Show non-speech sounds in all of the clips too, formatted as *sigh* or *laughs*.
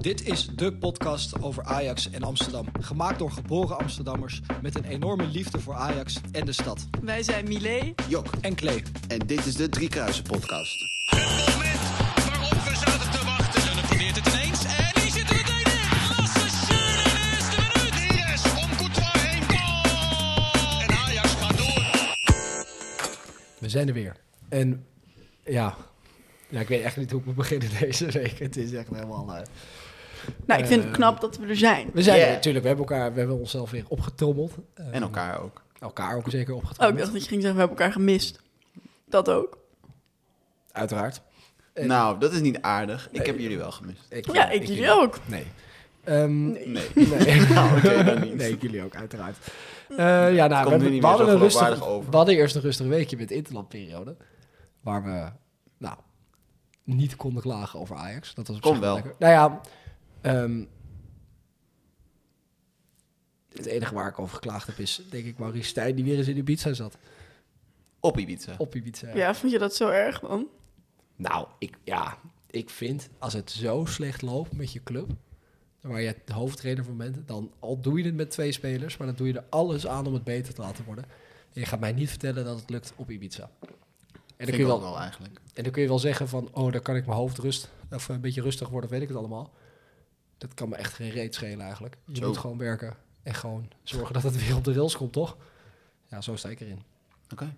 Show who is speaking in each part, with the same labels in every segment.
Speaker 1: Dit is de podcast over Ajax en Amsterdam. Gemaakt door geboren Amsterdammers met een enorme liefde voor Ajax en de stad.
Speaker 2: Wij zijn Milé.
Speaker 3: Jok.
Speaker 1: En Klee.
Speaker 3: En dit is de Driekruisen podcast.
Speaker 4: Het moment waarop we zaten te wachten. Zullen probeert het ineens. En die zit er meteen in. Lasse Schöne in de eerste minuut. Yes, om Courtois heen. Goal! En Ajax gaat door.
Speaker 5: We zijn er weer. En ja, ja ik weet echt niet hoe ik moet beginnen deze week. Het is echt helemaal... eh,
Speaker 2: Nou, ik vind het knap dat we er zijn.
Speaker 5: We zijn
Speaker 3: Ja.
Speaker 5: er natuurlijk. We hebben, elkaar, we hebben onszelf weer opgetrommeld. Eh,
Speaker 3: En elkaar ook.
Speaker 5: elkaar ook zeker
Speaker 2: Oh, ik
Speaker 5: opgetrommeld.
Speaker 2: dacht dat je ging zeggen, we hebben elkaar gemist. Dat ook.
Speaker 5: Uiteraard. En-
Speaker 3: nou, dat is niet aardig. Ik heb jullie wel gemist.
Speaker 5: Ik,
Speaker 2: Ja, ik jullie ook.
Speaker 5: Nee. Ehm, nee.
Speaker 3: Nee.
Speaker 5: *laughs* Nee.
Speaker 3: *laughs* nou, oké, dan niet.
Speaker 5: ik jullie ook,
Speaker 3: *laughs*
Speaker 5: uiteraard. Eh, ja, nou, we,
Speaker 3: nu
Speaker 5: hebben-
Speaker 3: niet
Speaker 5: we,
Speaker 3: meer
Speaker 5: hadden
Speaker 3: zo
Speaker 5: een rustig,
Speaker 3: geloofwaardig over.
Speaker 5: we hadden eerst een rustig weekje met de interlandperiode. Waar we, nou, niet konden klagen over Ajax. Dat was op
Speaker 3: Kon
Speaker 5: zich
Speaker 3: wel.
Speaker 5: lekker. Nou ja, ehm, het enige waar ik over geklaagd heb is, denk ik, Maurice Stijn, die weer eens in Ibiza zat.
Speaker 3: Op Ibiza.
Speaker 5: Op Ibiza.
Speaker 2: Ja, vond je dat zo erg dan?
Speaker 5: Nou, ik, ja, ik vind als het zo slecht loopt met je club, waar je de hoofdtrainer van bent, dan al doe je het met twee spelers, maar dan doe je er alles aan om het beter te laten worden. En je gaat mij niet vertellen dat het lukt op Ibiza. En dan, kun
Speaker 3: Vind ik
Speaker 5: je
Speaker 3: ook
Speaker 5: wel,
Speaker 3: wel eigenlijk.
Speaker 5: en dan kun je wel zeggen van, oh, dan kan ik mijn hoofd rust, of een beetje rustig worden, weet ik het allemaal. Dat kan me echt geen reet schelen eigenlijk. Je
Speaker 3: Zo.
Speaker 5: moet gewoon werken en gewoon zorgen dat het weer op de rails komt, toch? Ja, zo sta ik erin.
Speaker 3: Oké.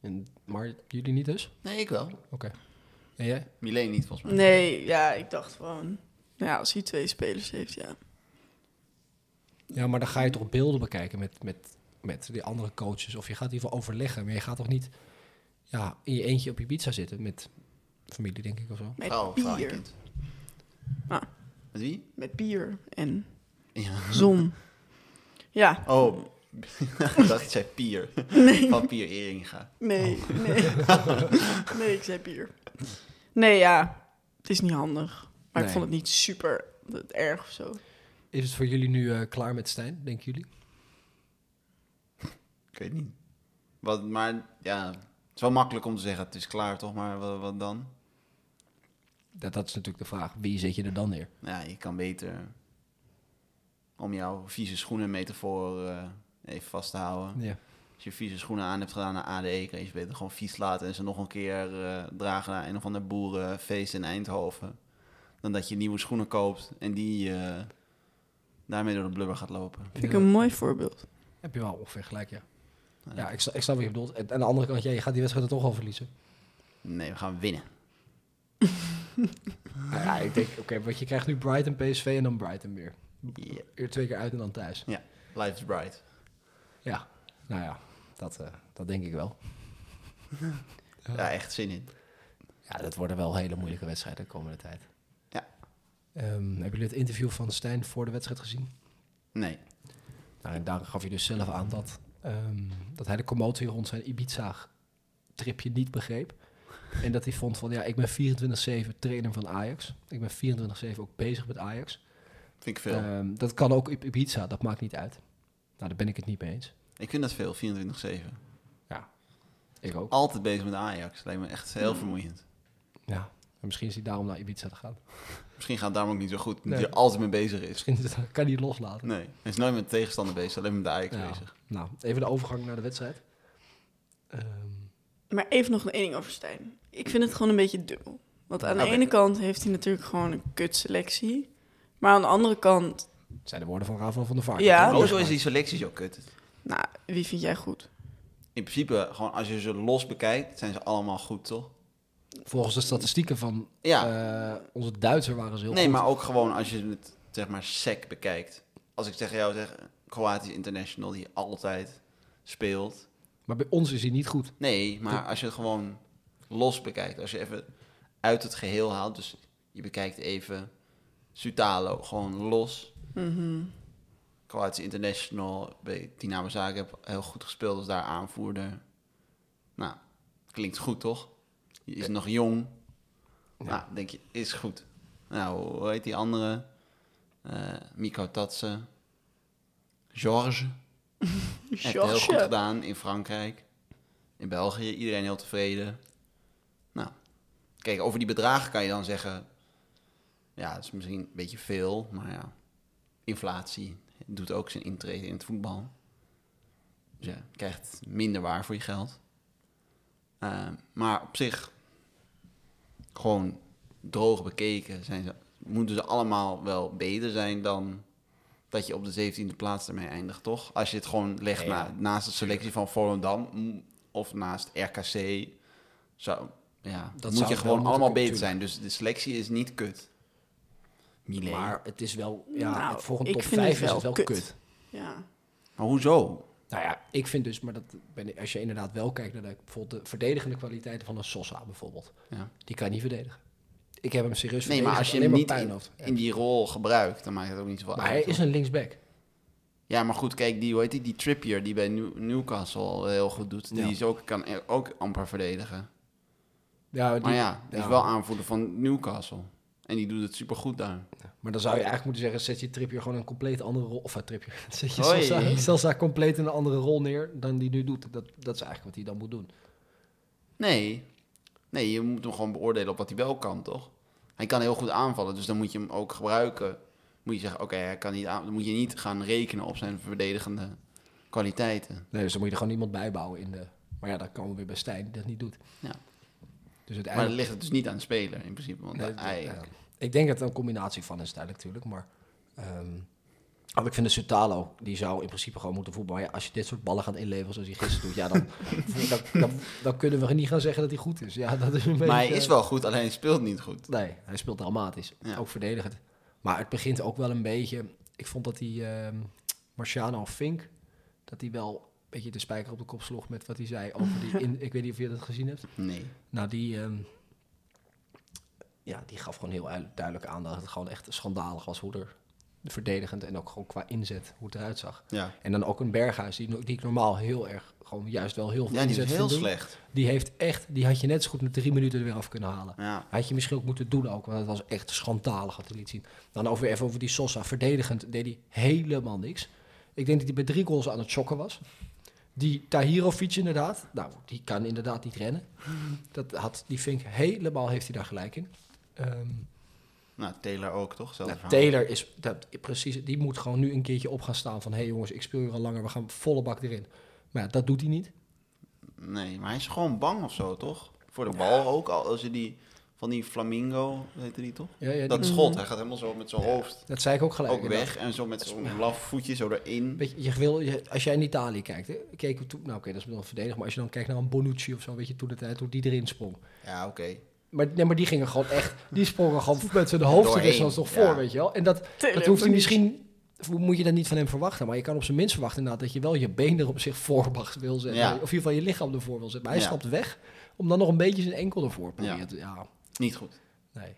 Speaker 5: En, maar jullie niet dus?
Speaker 3: Nee, ik wel.
Speaker 5: Oké. En jij?
Speaker 3: Milé niet, volgens mij.
Speaker 2: Nee, ja, ik dacht gewoon... Ja, als hij twee spelers heeft, ja.
Speaker 5: Ja, maar dan ga je toch beelden bekijken met, met, met die andere coaches. Of je gaat in ieder geval overleggen. Maar je gaat toch niet ja, in je eentje op je pizza zitten met familie, denk ik, of zo.
Speaker 2: Met
Speaker 3: Vrouw, vrouw en
Speaker 2: bier.
Speaker 3: kind.
Speaker 2: Ah.
Speaker 3: Oh, Met wie?
Speaker 2: Met bier en
Speaker 3: Ja.
Speaker 2: zon. Ja,
Speaker 3: Oh, *laughs* ik dacht je zei Pier. Van Pier Eringa.
Speaker 2: nee, *laughs* nee. Nee, ik zei bier. Nee, ja, het is niet handig. Maar ik
Speaker 5: Nee.
Speaker 2: vond het niet super erg of zo.
Speaker 5: Is het voor jullie nu eh, klaar met Stijn, denken jullie?
Speaker 3: Ik weet niet. Wat, maar ja, het is wel makkelijk om te zeggen, het is klaar toch, maar wat, wat dan?
Speaker 5: Dat, dat is natuurlijk de vraag. Wie zet je er dan neer?
Speaker 3: Ja, je kan beter om jouw vieze schoenen metafoor eh, even vast te houden.
Speaker 5: Ja.
Speaker 3: Als je vieze schoenen aan hebt gedaan naar ADE, kan je ze beter gewoon vies laten en ze nog een keer eh, dragen naar een of ander boerenfeest in Eindhoven. Dan dat je nieuwe schoenen koopt en die eh, daarmee door de blubber gaat lopen.
Speaker 2: Vind ik een mooi voorbeeld.
Speaker 5: Heb je wel ongeveer gelijk, ja.
Speaker 3: Ja.
Speaker 5: Ja, ik, sta- ik snap wat je bedoelt. En aan de andere kant, ja, je gaat die wedstrijd er toch al verliezen.
Speaker 3: Nee, we gaan winnen.
Speaker 5: Nou ja, ik denk, oké, want je krijgt nu Brighton, PSV en dan Brighton weer.
Speaker 3: Yeah.
Speaker 5: Eer twee keer uit en dan thuis.
Speaker 3: Ja, life is bright.
Speaker 5: Ja, nou ja, dat, eh, dat denk ik wel.
Speaker 3: Ja, echt zin in.
Speaker 5: Ja, dat worden wel hele moeilijke wedstrijden de komende tijd.
Speaker 3: Ja.
Speaker 5: Ehm, hebben jullie het interview van Stijn voor de wedstrijd gezien?
Speaker 3: Nee.
Speaker 5: Nou, en daar gaf je dus zelf aan dat, ehm, dat hij de commotie rond zijn Ibiza-tripje niet *laughs* begreep. En dat hij vond van, ja, ik ben 24-7 trainer van Ajax. Ik ben 24-7 ook bezig met Ajax.
Speaker 3: Vind ik veel.
Speaker 5: Ehm, dat kan ook op Ibiza, dat maakt niet uit. Nou, daar ben ik het niet mee eens.
Speaker 3: Ik vind dat veel, 24-7.
Speaker 5: Ja, ik ook.
Speaker 3: Altijd bezig met Ajax. Lijkt me echt heel vermoeiend.
Speaker 5: Ja. En misschien is hij daarom naar Ibiza te gaan.
Speaker 3: Misschien gaat het daarom ook niet zo goed, omdat
Speaker 5: Nee.
Speaker 3: hij er altijd mee bezig is.
Speaker 5: Misschien is het- kan hij het loslaten.
Speaker 3: Nee, hij is nooit met de tegenstander bezig, alleen met de Ajax
Speaker 5: Ja.
Speaker 3: bezig.
Speaker 5: Nou, even de overgang naar de wedstrijd. Ehm,
Speaker 2: Maar even nog één ding over Stijn. Ik vind het gewoon een beetje dubbel. Want aan de
Speaker 3: Oké.
Speaker 2: ene kant heeft hij natuurlijk gewoon een kutselectie. Maar aan de andere kant,
Speaker 5: Het zijn de woorden van Rafael van der Vaart.
Speaker 2: Ja,
Speaker 3: Oh, zo is die selectie zo kut.
Speaker 2: nou, wie vind jij goed?
Speaker 3: In principe, gewoon als je ze los bekijkt, zijn ze allemaal goed, toch?
Speaker 5: Volgens de statistieken van eh, onze Duitser waren ze heel
Speaker 3: Nee,
Speaker 5: goed.
Speaker 3: maar ook gewoon als je het, zeg maar, sec bekijkt. Als ik tegen jou zeg, Kroatisch international die altijd speelt.
Speaker 5: Maar bij ons is hij niet goed.
Speaker 3: Nee, maar als je het gewoon los bekijkt. Als je even uit het geheel haalt. Dus je bekijkt even Sutalo, gewoon los.
Speaker 5: Mhm.
Speaker 3: Kroatisch international, bij Dynamo Zagreb heel goed gespeeld als daar aanvoerder. Nou, klinkt goed toch? Je
Speaker 5: Eh.
Speaker 3: is nog jong. Nou, denk je, is goed. Nou, hoe heet die andere? Eh Miko Tatsen. Georges. Heeft heel
Speaker 2: Georges.
Speaker 3: goed gedaan in Frankrijk. In België, iedereen heel tevreden. Nou, kijk, over die bedragen kan je dan zeggen... Ja, dat is misschien een beetje veel, maar ja. Inflatie doet ook zijn intrede in het voetbal. Dus je krijgt minder waar voor je geld. Ehm, maar op zich, gewoon droog bekeken, zijn ze, moeten ze allemaal wel beter zijn dan dat je op de 17e plaats ermee eindigt, toch? Als je het gewoon legt
Speaker 5: Ja, ja.
Speaker 3: na- naast de selectie van Volendam mm, of naast RKC, zou, ja,
Speaker 5: Dat
Speaker 3: moet
Speaker 5: zou het
Speaker 3: je
Speaker 5: wel
Speaker 3: gewoon
Speaker 5: moeten
Speaker 3: allemaal
Speaker 5: kunnen,
Speaker 3: beter zijn. Dus de selectie is niet kut. Milé.
Speaker 5: Maar het is wel, ja,
Speaker 2: Nou,
Speaker 5: het- voor een
Speaker 2: ik
Speaker 5: top
Speaker 2: vind het
Speaker 5: 5 is
Speaker 2: wel
Speaker 5: het wel
Speaker 2: kut.
Speaker 5: kut.
Speaker 2: Ja.
Speaker 3: Maar hoezo?
Speaker 5: Nou ja, ik vind dus, maar dat ben, ik- als je inderdaad wel kijkt naar de, bijvoorbeeld de verdedigende kwaliteiten van een Sosa bijvoorbeeld.
Speaker 3: Ja.
Speaker 5: Die kan je niet verdedigen. Ik heb hem serieus
Speaker 3: Nee, maar als je hem
Speaker 5: alleen
Speaker 3: niet
Speaker 5: maar
Speaker 3: in,
Speaker 5: puinhoopt.
Speaker 3: in die rol gebruikt, dan maakt het ook niet zoveel
Speaker 5: Maar
Speaker 3: uit.
Speaker 5: hij is
Speaker 3: hoor.
Speaker 5: een linksback.
Speaker 3: Ja, maar goed, kijk, die, hoe heet die, die Trippier die bij New- Newcastle heel goed doet, die
Speaker 5: Ja.
Speaker 3: is ook, kan er- ook amper verdedigen.
Speaker 5: Ja, die-
Speaker 3: maar ja, die
Speaker 5: ja.
Speaker 3: is wel aanvoerder van Newcastle. En die doet het supergoed daar.
Speaker 5: Maar dan zou
Speaker 3: Oh.
Speaker 5: je eigenlijk moeten zeggen, zet je Trippier gewoon een compleet andere rol... Of uh, Trippier, *laughs* zet je
Speaker 3: Hoi.
Speaker 5: Sosa, Sosa compleet in een andere rol neer dan die nu doet. Dat, dat is eigenlijk wat hij dan moet doen.
Speaker 3: Nee. Nee, je moet hem gewoon beoordelen op wat hij wel kan, toch? Hij kan heel goed aanvallen, dus dan moet je hem ook gebruiken. Moet je zeggen, oké, hij kan niet aan... Dan moet je niet gaan rekenen op zijn verdedigende kwaliteiten.
Speaker 5: Nee, dus dan moet je er gewoon iemand bij bouwen in de... Maar ja, dan komen we weer bij Stijn, die dat niet doet.
Speaker 3: Ja.
Speaker 5: Dus
Speaker 3: Maar
Speaker 5: uiteindelijk...
Speaker 3: dan ligt het dus niet aan de speler, in principe. Want
Speaker 5: Nee,
Speaker 3: hij...
Speaker 5: ja. Ik denk dat het een combinatie van is, duidelijk natuurlijk. Maar, ehm, want ik vind de Sutalo, die zou in principe gewoon moeten voetballen. Maar ja, als je dit soort ballen gaat inleveren zoals hij gisteren doet, ja, dan, *laughs* dan, dan, dan kunnen we niet gaan zeggen dat hij goed is. Ja, dat is een beetje,
Speaker 3: Maar hij is wel goed, alleen hij speelt niet goed.
Speaker 5: Nee, hij speelt dramatisch.
Speaker 3: Ja.
Speaker 5: Ook verdedigend. Maar het begint ook wel een beetje... Ik vond dat die ehm Marciano Fink, dat hij wel een beetje de spijker op de kop sloeg met wat hij zei over
Speaker 3: *laughs*
Speaker 5: die... In, ik weet niet of je dat gezien hebt.
Speaker 3: Nee.
Speaker 5: Nou, die, ehm, ja, die gaf gewoon heel uil- duidelijk aan dat het gewoon echt schandalig was hoe er verdedigend en ook gewoon qua inzet hoe het eruit zag.
Speaker 3: Ja.
Speaker 5: En dan ook een Berghuis, die, no- die ik normaal heel erg, gewoon juist wel heel veel
Speaker 3: Ja, die
Speaker 5: inzet
Speaker 3: is heel
Speaker 5: vind doen.
Speaker 3: slecht.
Speaker 5: Die heeft echt, die had je net zo goed met drie minuten er weer af kunnen halen.
Speaker 3: Ja.
Speaker 5: Had je misschien ook moeten doen ook, want het was echt schandalig wat hij liet zien. Dan over, even over die Sosa. Verdedigend deed hij helemaal niks. Ik denk dat hij bij drie goals aan het shocken was. Die Tahirovic inderdaad, nou, die kan inderdaad niet rennen. Dat had die Vink helemaal, heeft hij daar gelijk in. Ehm
Speaker 3: Nou, Taylor ook, toch? Zelfde
Speaker 5: nou,
Speaker 3: verhaal.
Speaker 5: Taylor is, dat, precies, die moet gewoon nu een keertje op gaan staan van... hé hey jongens, ik speel hier al langer, we gaan volle bak erin. Maar ja, dat doet hij niet.
Speaker 3: Nee, maar hij is gewoon bang of zo, toch? Voor de bal ook al. Als je die... Van die flamingo, heet die toch?
Speaker 5: Ja, ja, die-
Speaker 3: dat schot, hij gaat helemaal zo met zijn hoofd
Speaker 5: Dat zei ik ook gelijk.
Speaker 3: ook weg en zo met zo'n laf voetje zo erin.
Speaker 5: Weet je, je wil, je, als jij in Italië kijkt, hè, keken we toen, nou oké, dat is wel verdedig, maar als je dan kijkt naar een Bonucci of zo, weet je, toen de tijd, hoe die erin sprong.
Speaker 3: Ja, oké.
Speaker 5: Maar, nee, maar die gingen gewoon echt, die sprongen gewoon met *laughs* zijn hoofd er
Speaker 3: Doorheen,
Speaker 5: zoals nog
Speaker 3: ja.
Speaker 5: voor, weet je wel. En dat, dat hoeft hij misschien, moet je dat niet van hem verwachten, maar je kan op zijn minst verwachten inderdaad dat je wel je been er op zich voor mag- wil zetten.
Speaker 3: Ja.
Speaker 5: Of in ieder geval je lichaam ervoor wil zetten. Maar hij
Speaker 3: Ja.
Speaker 5: stapt weg om dan nog een beetje zijn enkel ervoor te proberen.
Speaker 3: Ja.
Speaker 5: te- Ja,
Speaker 3: Niet goed.
Speaker 5: nee.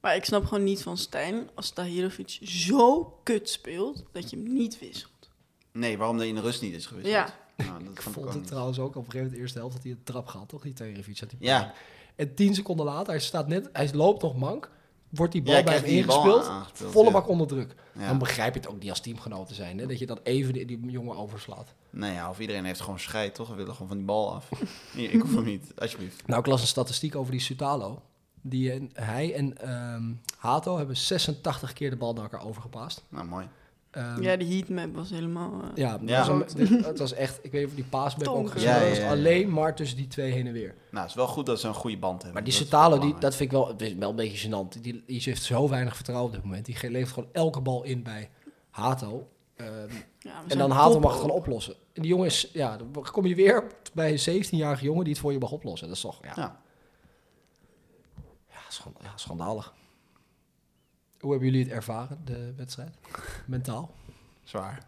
Speaker 2: Maar ik snap gewoon niet van Stijn als Tahirovic zo kut speelt dat je hem niet wisselt.
Speaker 3: Nee, waarom dat in de rust niet is geweest.
Speaker 2: Ja.
Speaker 3: Nou, dat
Speaker 5: Ik
Speaker 3: vond ik
Speaker 5: vond
Speaker 3: ook
Speaker 5: het
Speaker 3: niet.
Speaker 5: trouwens ook op een gegeven moment de eerste helft dat hij een trap gaat, toch? Die Tahirovic had die
Speaker 3: Ja,
Speaker 5: En tien seconden later, hij staat net, hij loopt nog mank, wordt die bal
Speaker 3: Ja, hij
Speaker 5: bij hem
Speaker 3: krijgt die bal
Speaker 5: ingespeeld,
Speaker 3: aangespeeld,
Speaker 5: volle
Speaker 3: ja.
Speaker 5: bak onder druk.
Speaker 3: Ja.
Speaker 5: Dan begrijp je het ook niet als teamgenoten zijn, hè, dat je dan even die, die jongen overslaat.
Speaker 3: nou ja, of iedereen heeft gewoon scheid, toch? We willen gewoon van die bal
Speaker 5: *laughs*
Speaker 3: af. Hier, ik hoef hem niet, alsjeblieft.
Speaker 5: Nou, ik las een statistiek over die Sutalo. Die, en- hij en ehm, Hato hebben 86 keer de bal naar elkaar overgepaast.
Speaker 3: Nou, mooi.
Speaker 5: Ehm,
Speaker 2: ja, die heatmap was helemaal... eh,
Speaker 5: ja,
Speaker 3: Ja.
Speaker 5: dat was *laughs* een- het was echt, ik weet niet of die paasback ook
Speaker 2: Tonker.
Speaker 5: gezien
Speaker 3: Ja,
Speaker 5: was,
Speaker 3: ja, ja, ja.
Speaker 5: alleen maar tussen die twee heen en weer.
Speaker 3: Nou, het is wel goed dat ze een goede band hebben.
Speaker 5: Maar die
Speaker 3: Dat is
Speaker 5: Setalo, die,
Speaker 3: belangrijk.
Speaker 5: dat vind ik wel, het is wel een beetje gênant. Die, die heeft zo weinig vertrouwen op dit moment. Die ge- levert gewoon elke bal in bij Hato. Ehm,
Speaker 2: ja, we
Speaker 5: en
Speaker 2: zijn
Speaker 5: dan Hato
Speaker 2: top
Speaker 5: mag het
Speaker 2: ook.
Speaker 5: gewoon oplossen. En die jongen is, ja, dan kom je weer bij een 17-jarige jongen die het voor je mag oplossen. Dat is toch, ja,
Speaker 3: Ja.
Speaker 5: ja, schan- ja, schandalig. Hoe hebben jullie het ervaren, de
Speaker 2: *laughs*
Speaker 5: wedstrijd? Mentaal?
Speaker 3: Zwaar.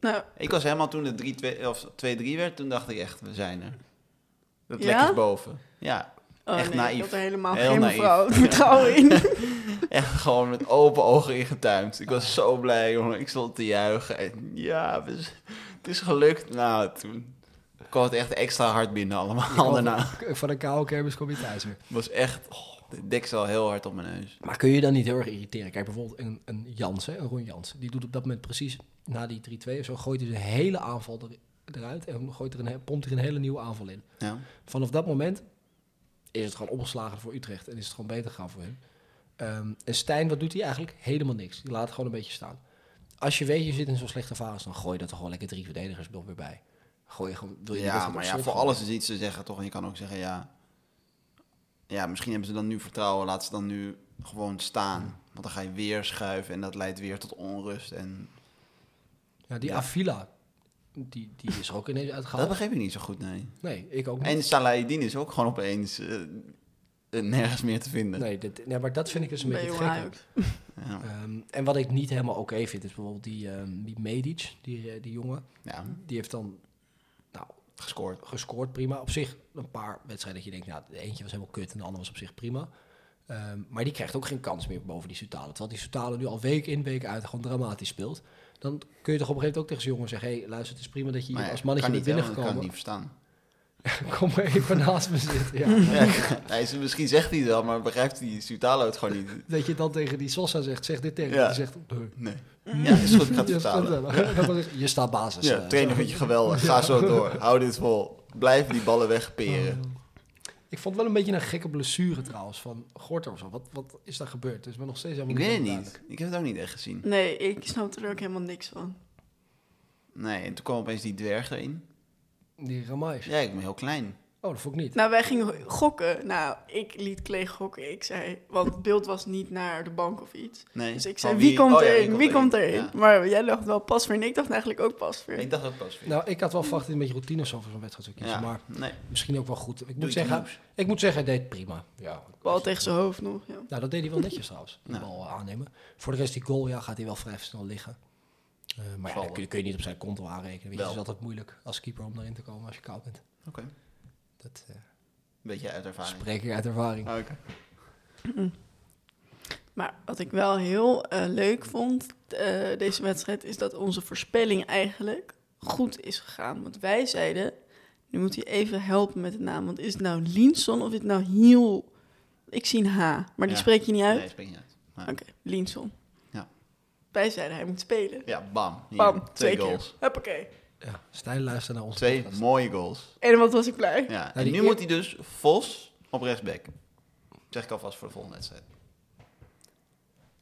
Speaker 2: Nou,
Speaker 3: Ik was helemaal toen het 3-2 of 2-3 werd, toen dacht ik echt, we zijn er. Dat
Speaker 2: Ja?
Speaker 3: lek is boven. Ja,
Speaker 2: oh
Speaker 3: Echt
Speaker 2: nee,
Speaker 3: naïef.
Speaker 2: ik had er helemaal
Speaker 3: Heel
Speaker 2: geen
Speaker 3: naïef.
Speaker 2: mevrouw vertrouwen in.
Speaker 3: *laughs* echt gewoon met open ogen ingetuimd. Ik was zo blij, jongen. Ik stond te juichen. En ja, we z- het is gelukt. Nou, toen kwam het echt extra hard binnen *laughs* allemaal daarna.
Speaker 5: *laughs*
Speaker 3: Het
Speaker 5: Van een koude kermis kom je thuis weer.
Speaker 3: was echt... Oh, de deksel heel hard op mijn neus.
Speaker 5: Maar kun je dan niet heel erg irriteren? Kijk, bijvoorbeeld een, een Jansen, een Ron Jansen. Die doet op dat moment precies na die 3-2 of zo... gooit hij zijn hele aanval er- eruit en gooit er een, he- pompt er een hele nieuwe aanval in.
Speaker 3: Ja.
Speaker 5: Vanaf dat moment is het gewoon opgeslagen voor Utrecht... en is het gewoon beter gaan voor hen. Ehm, en Stijn, wat doet hij eigenlijk? Helemaal niks. Die laat het gewoon een beetje staan. Als je weet, je zit in zo'n slechte fase, dan gooi je er toch gewoon lekker drie verdedigers nog weer bij. Gooi je gewoon, wil je die
Speaker 3: Ja,
Speaker 5: wedstrijd op
Speaker 3: maar ja,
Speaker 5: slot
Speaker 3: voor
Speaker 5: gooien?
Speaker 3: alles is iets te zeggen, toch? En je kan ook zeggen, ja... Ja, misschien hebben ze dan nu vertrouwen. Laat ze dan nu gewoon staan. Want dan ga je weer schuiven en dat leidt weer tot onrust. En
Speaker 5: Ja, die
Speaker 3: Ja.
Speaker 5: Avila, die, die is er ook ineens
Speaker 3: dat
Speaker 5: uitgehaald.
Speaker 3: begreep ik niet zo goed, nee.
Speaker 5: Nee, ik ook niet.
Speaker 3: En Salahidin is ook gewoon opeens eh, eh, nergens meer te vinden.
Speaker 5: Nee, dit, nee, maar dat vind ik dus een
Speaker 2: Bij
Speaker 5: beetje
Speaker 2: Jong
Speaker 5: gek.
Speaker 2: Ajax.
Speaker 3: Ja.
Speaker 5: Ehm, en wat ik niet helemaal oké vind, is bijvoorbeeld die, ehm, die Medic, die, eh, die jongen.
Speaker 3: ja,
Speaker 5: Die heeft dan nou,
Speaker 3: gescoord.
Speaker 5: gescoord, prima. Op zich een paar wedstrijden dat je denkt, nou, de eentje was helemaal kut en de andere was op zich prima. Ehm, maar die krijgt ook geen kans meer boven die Sutalen. Terwijl die Sutalen nu al week in, week uit gewoon dramatisch speelt. Dan kun je toch op een gegeven moment ook tegen zijn jongen zeggen... hé, hey, luister, het is prima dat je
Speaker 3: Maar
Speaker 5: hier
Speaker 3: ja,
Speaker 5: als mannetje
Speaker 3: kan
Speaker 5: bent
Speaker 3: niet, hè, want
Speaker 5: binnengekomen.
Speaker 3: Ik kan het niet verstaan.
Speaker 5: *laughs* Kom maar even naast me zitten.
Speaker 3: *laughs*
Speaker 5: Ja.
Speaker 3: Ja, hij is, misschien zegt hij het wel, maar begrijpt hij Sutalo het gewoon niet.
Speaker 5: Dat je dan tegen die Sosa zegt, zeg dit tegen.
Speaker 3: Ja.
Speaker 5: Die zegt, "Huh."
Speaker 3: Nee. Ja, is goed, ik ga
Speaker 5: *laughs*
Speaker 3: het
Speaker 5: Ja,
Speaker 3: vertalen. Dus,
Speaker 5: vertalen. Dan zeg je, Je staat basis.
Speaker 3: Ja,
Speaker 5: eh.
Speaker 3: trainer vind je geweldig. Ga zo door. *laughs* Hou dit vol. Blijf die ballen
Speaker 5: Oh.
Speaker 3: wegperen.
Speaker 5: Ik vond wel een beetje een gekke blessure trouwens van Gorter of zo. Wat, wat is daar gebeurd? Het is me nog steeds helemaal
Speaker 3: Ik weet het
Speaker 5: helemaal
Speaker 3: niet. Ik heb het ook niet echt gezien.
Speaker 2: Nee, ik snap er ook helemaal niks van.
Speaker 3: Nee, en toen kwam opeens die dwerg erin.
Speaker 5: duidelijk. Die Ramais.
Speaker 3: Ja, ik ben heel klein.
Speaker 5: Oh, dat vond ik niet.
Speaker 2: Nou, wij gingen gokken. Nou, ik liet Klee gokken. Ik zei, want het beeld was niet naar de bank of iets.
Speaker 3: Nee.
Speaker 2: Dus ik
Speaker 3: Van
Speaker 2: zei, wie, komt
Speaker 3: oh ja,
Speaker 2: erin? Wie komt erin?
Speaker 3: Ja.
Speaker 2: Maar jij dacht wel Pasveer en ik dacht eigenlijk ook Pasveer.
Speaker 3: Ik dacht ook pas weer.
Speaker 5: Nou, ik had wel verwacht dat hij een beetje routine of zo voor zo'n wedstrijd zou kiezen.
Speaker 3: ja.
Speaker 5: Maar
Speaker 3: nee.
Speaker 5: misschien ook wel goed. Ik
Speaker 3: Doe
Speaker 5: moet,
Speaker 3: iets
Speaker 5: zeggen,
Speaker 3: nieuws.
Speaker 5: ik moet zeggen, hij deed prima. Ja,
Speaker 2: Bal tegen zijn hoofd nog, ja.
Speaker 5: Nou, dat deed hij wel netjes trouwens. De
Speaker 3: Ja.
Speaker 5: bal eh, aannemen. Voor de rest, die goal, ja, gaat hij wel vrij snel liggen. Eh, maar ja,
Speaker 3: Vallen.
Speaker 5: dat kun je, kun je niet op zijn konto aanrekenen. Weet je,
Speaker 3: Wel.
Speaker 5: het is altijd moeilijk als keeper om erin te komen als je koud bent.
Speaker 3: Oké.
Speaker 5: Dat eh,
Speaker 3: Beetje uit ervaring. Oh,
Speaker 5: spreek ik uit ervaring.
Speaker 3: Oké.
Speaker 2: Maar wat ik wel heel eh, leuk vond eh, deze wedstrijd... is dat onze voorspelling eigenlijk goed is gegaan. Want wij zeiden, nu moet hij even helpen met de naam. Want is het nou Linson of is het nou Hiel? Ik zie een H, maar die
Speaker 3: Ja.
Speaker 2: spreek je niet uit.
Speaker 3: Nee, spreek niet uit. Maar-
Speaker 2: Oké, Linson.
Speaker 3: Ja.
Speaker 2: Wij zeiden, hij moet spelen.
Speaker 3: Ja, bam. Hier,
Speaker 2: Bam, twee,
Speaker 3: twee
Speaker 2: keer.
Speaker 3: goals.
Speaker 2: Huppakee.
Speaker 5: Ja, Stijn luistert naar ons.
Speaker 3: Twee mooie goals.
Speaker 2: En wat was ik blij.
Speaker 3: Ja, en
Speaker 5: die
Speaker 3: nu
Speaker 5: eer-
Speaker 3: moet hij dus Vos op rechtsback. Zeg ik alvast voor de volgende wedstrijd.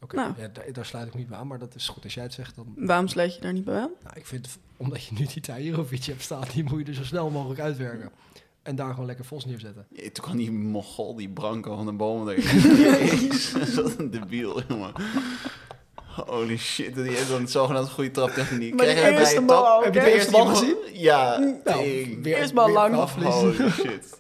Speaker 5: Oké,
Speaker 2: Nou.
Speaker 5: ja, daar, daar sluit ik niet bij aan, maar dat is goed. Als jij het zegt, dan...
Speaker 2: Waarom sluit je daar niet bij aan?
Speaker 5: Nou, ik vind, omdat je nu die Tahirovic hebt staan, die moet je er zo snel mogelijk uitwerken. En daar gewoon lekker Vos neerzetten.
Speaker 3: Ja, Toen kwam die mogol, die Branco van de bomen erin. Jezus, wat een debiel, jongen. Holy shit, die heeft dan zogenaamd goede traptechniek.
Speaker 2: Maar die
Speaker 3: Krijg je
Speaker 2: eerste
Speaker 3: bij je
Speaker 2: bal
Speaker 3: trap-
Speaker 2: ook,
Speaker 5: Heb je
Speaker 2: hè?
Speaker 5: de eerste bal
Speaker 3: Die
Speaker 5: gezien?
Speaker 3: Ja,
Speaker 5: Nou,
Speaker 3: tering.
Speaker 2: Eerst bal lang.
Speaker 5: afvliezen.
Speaker 3: Holy shit.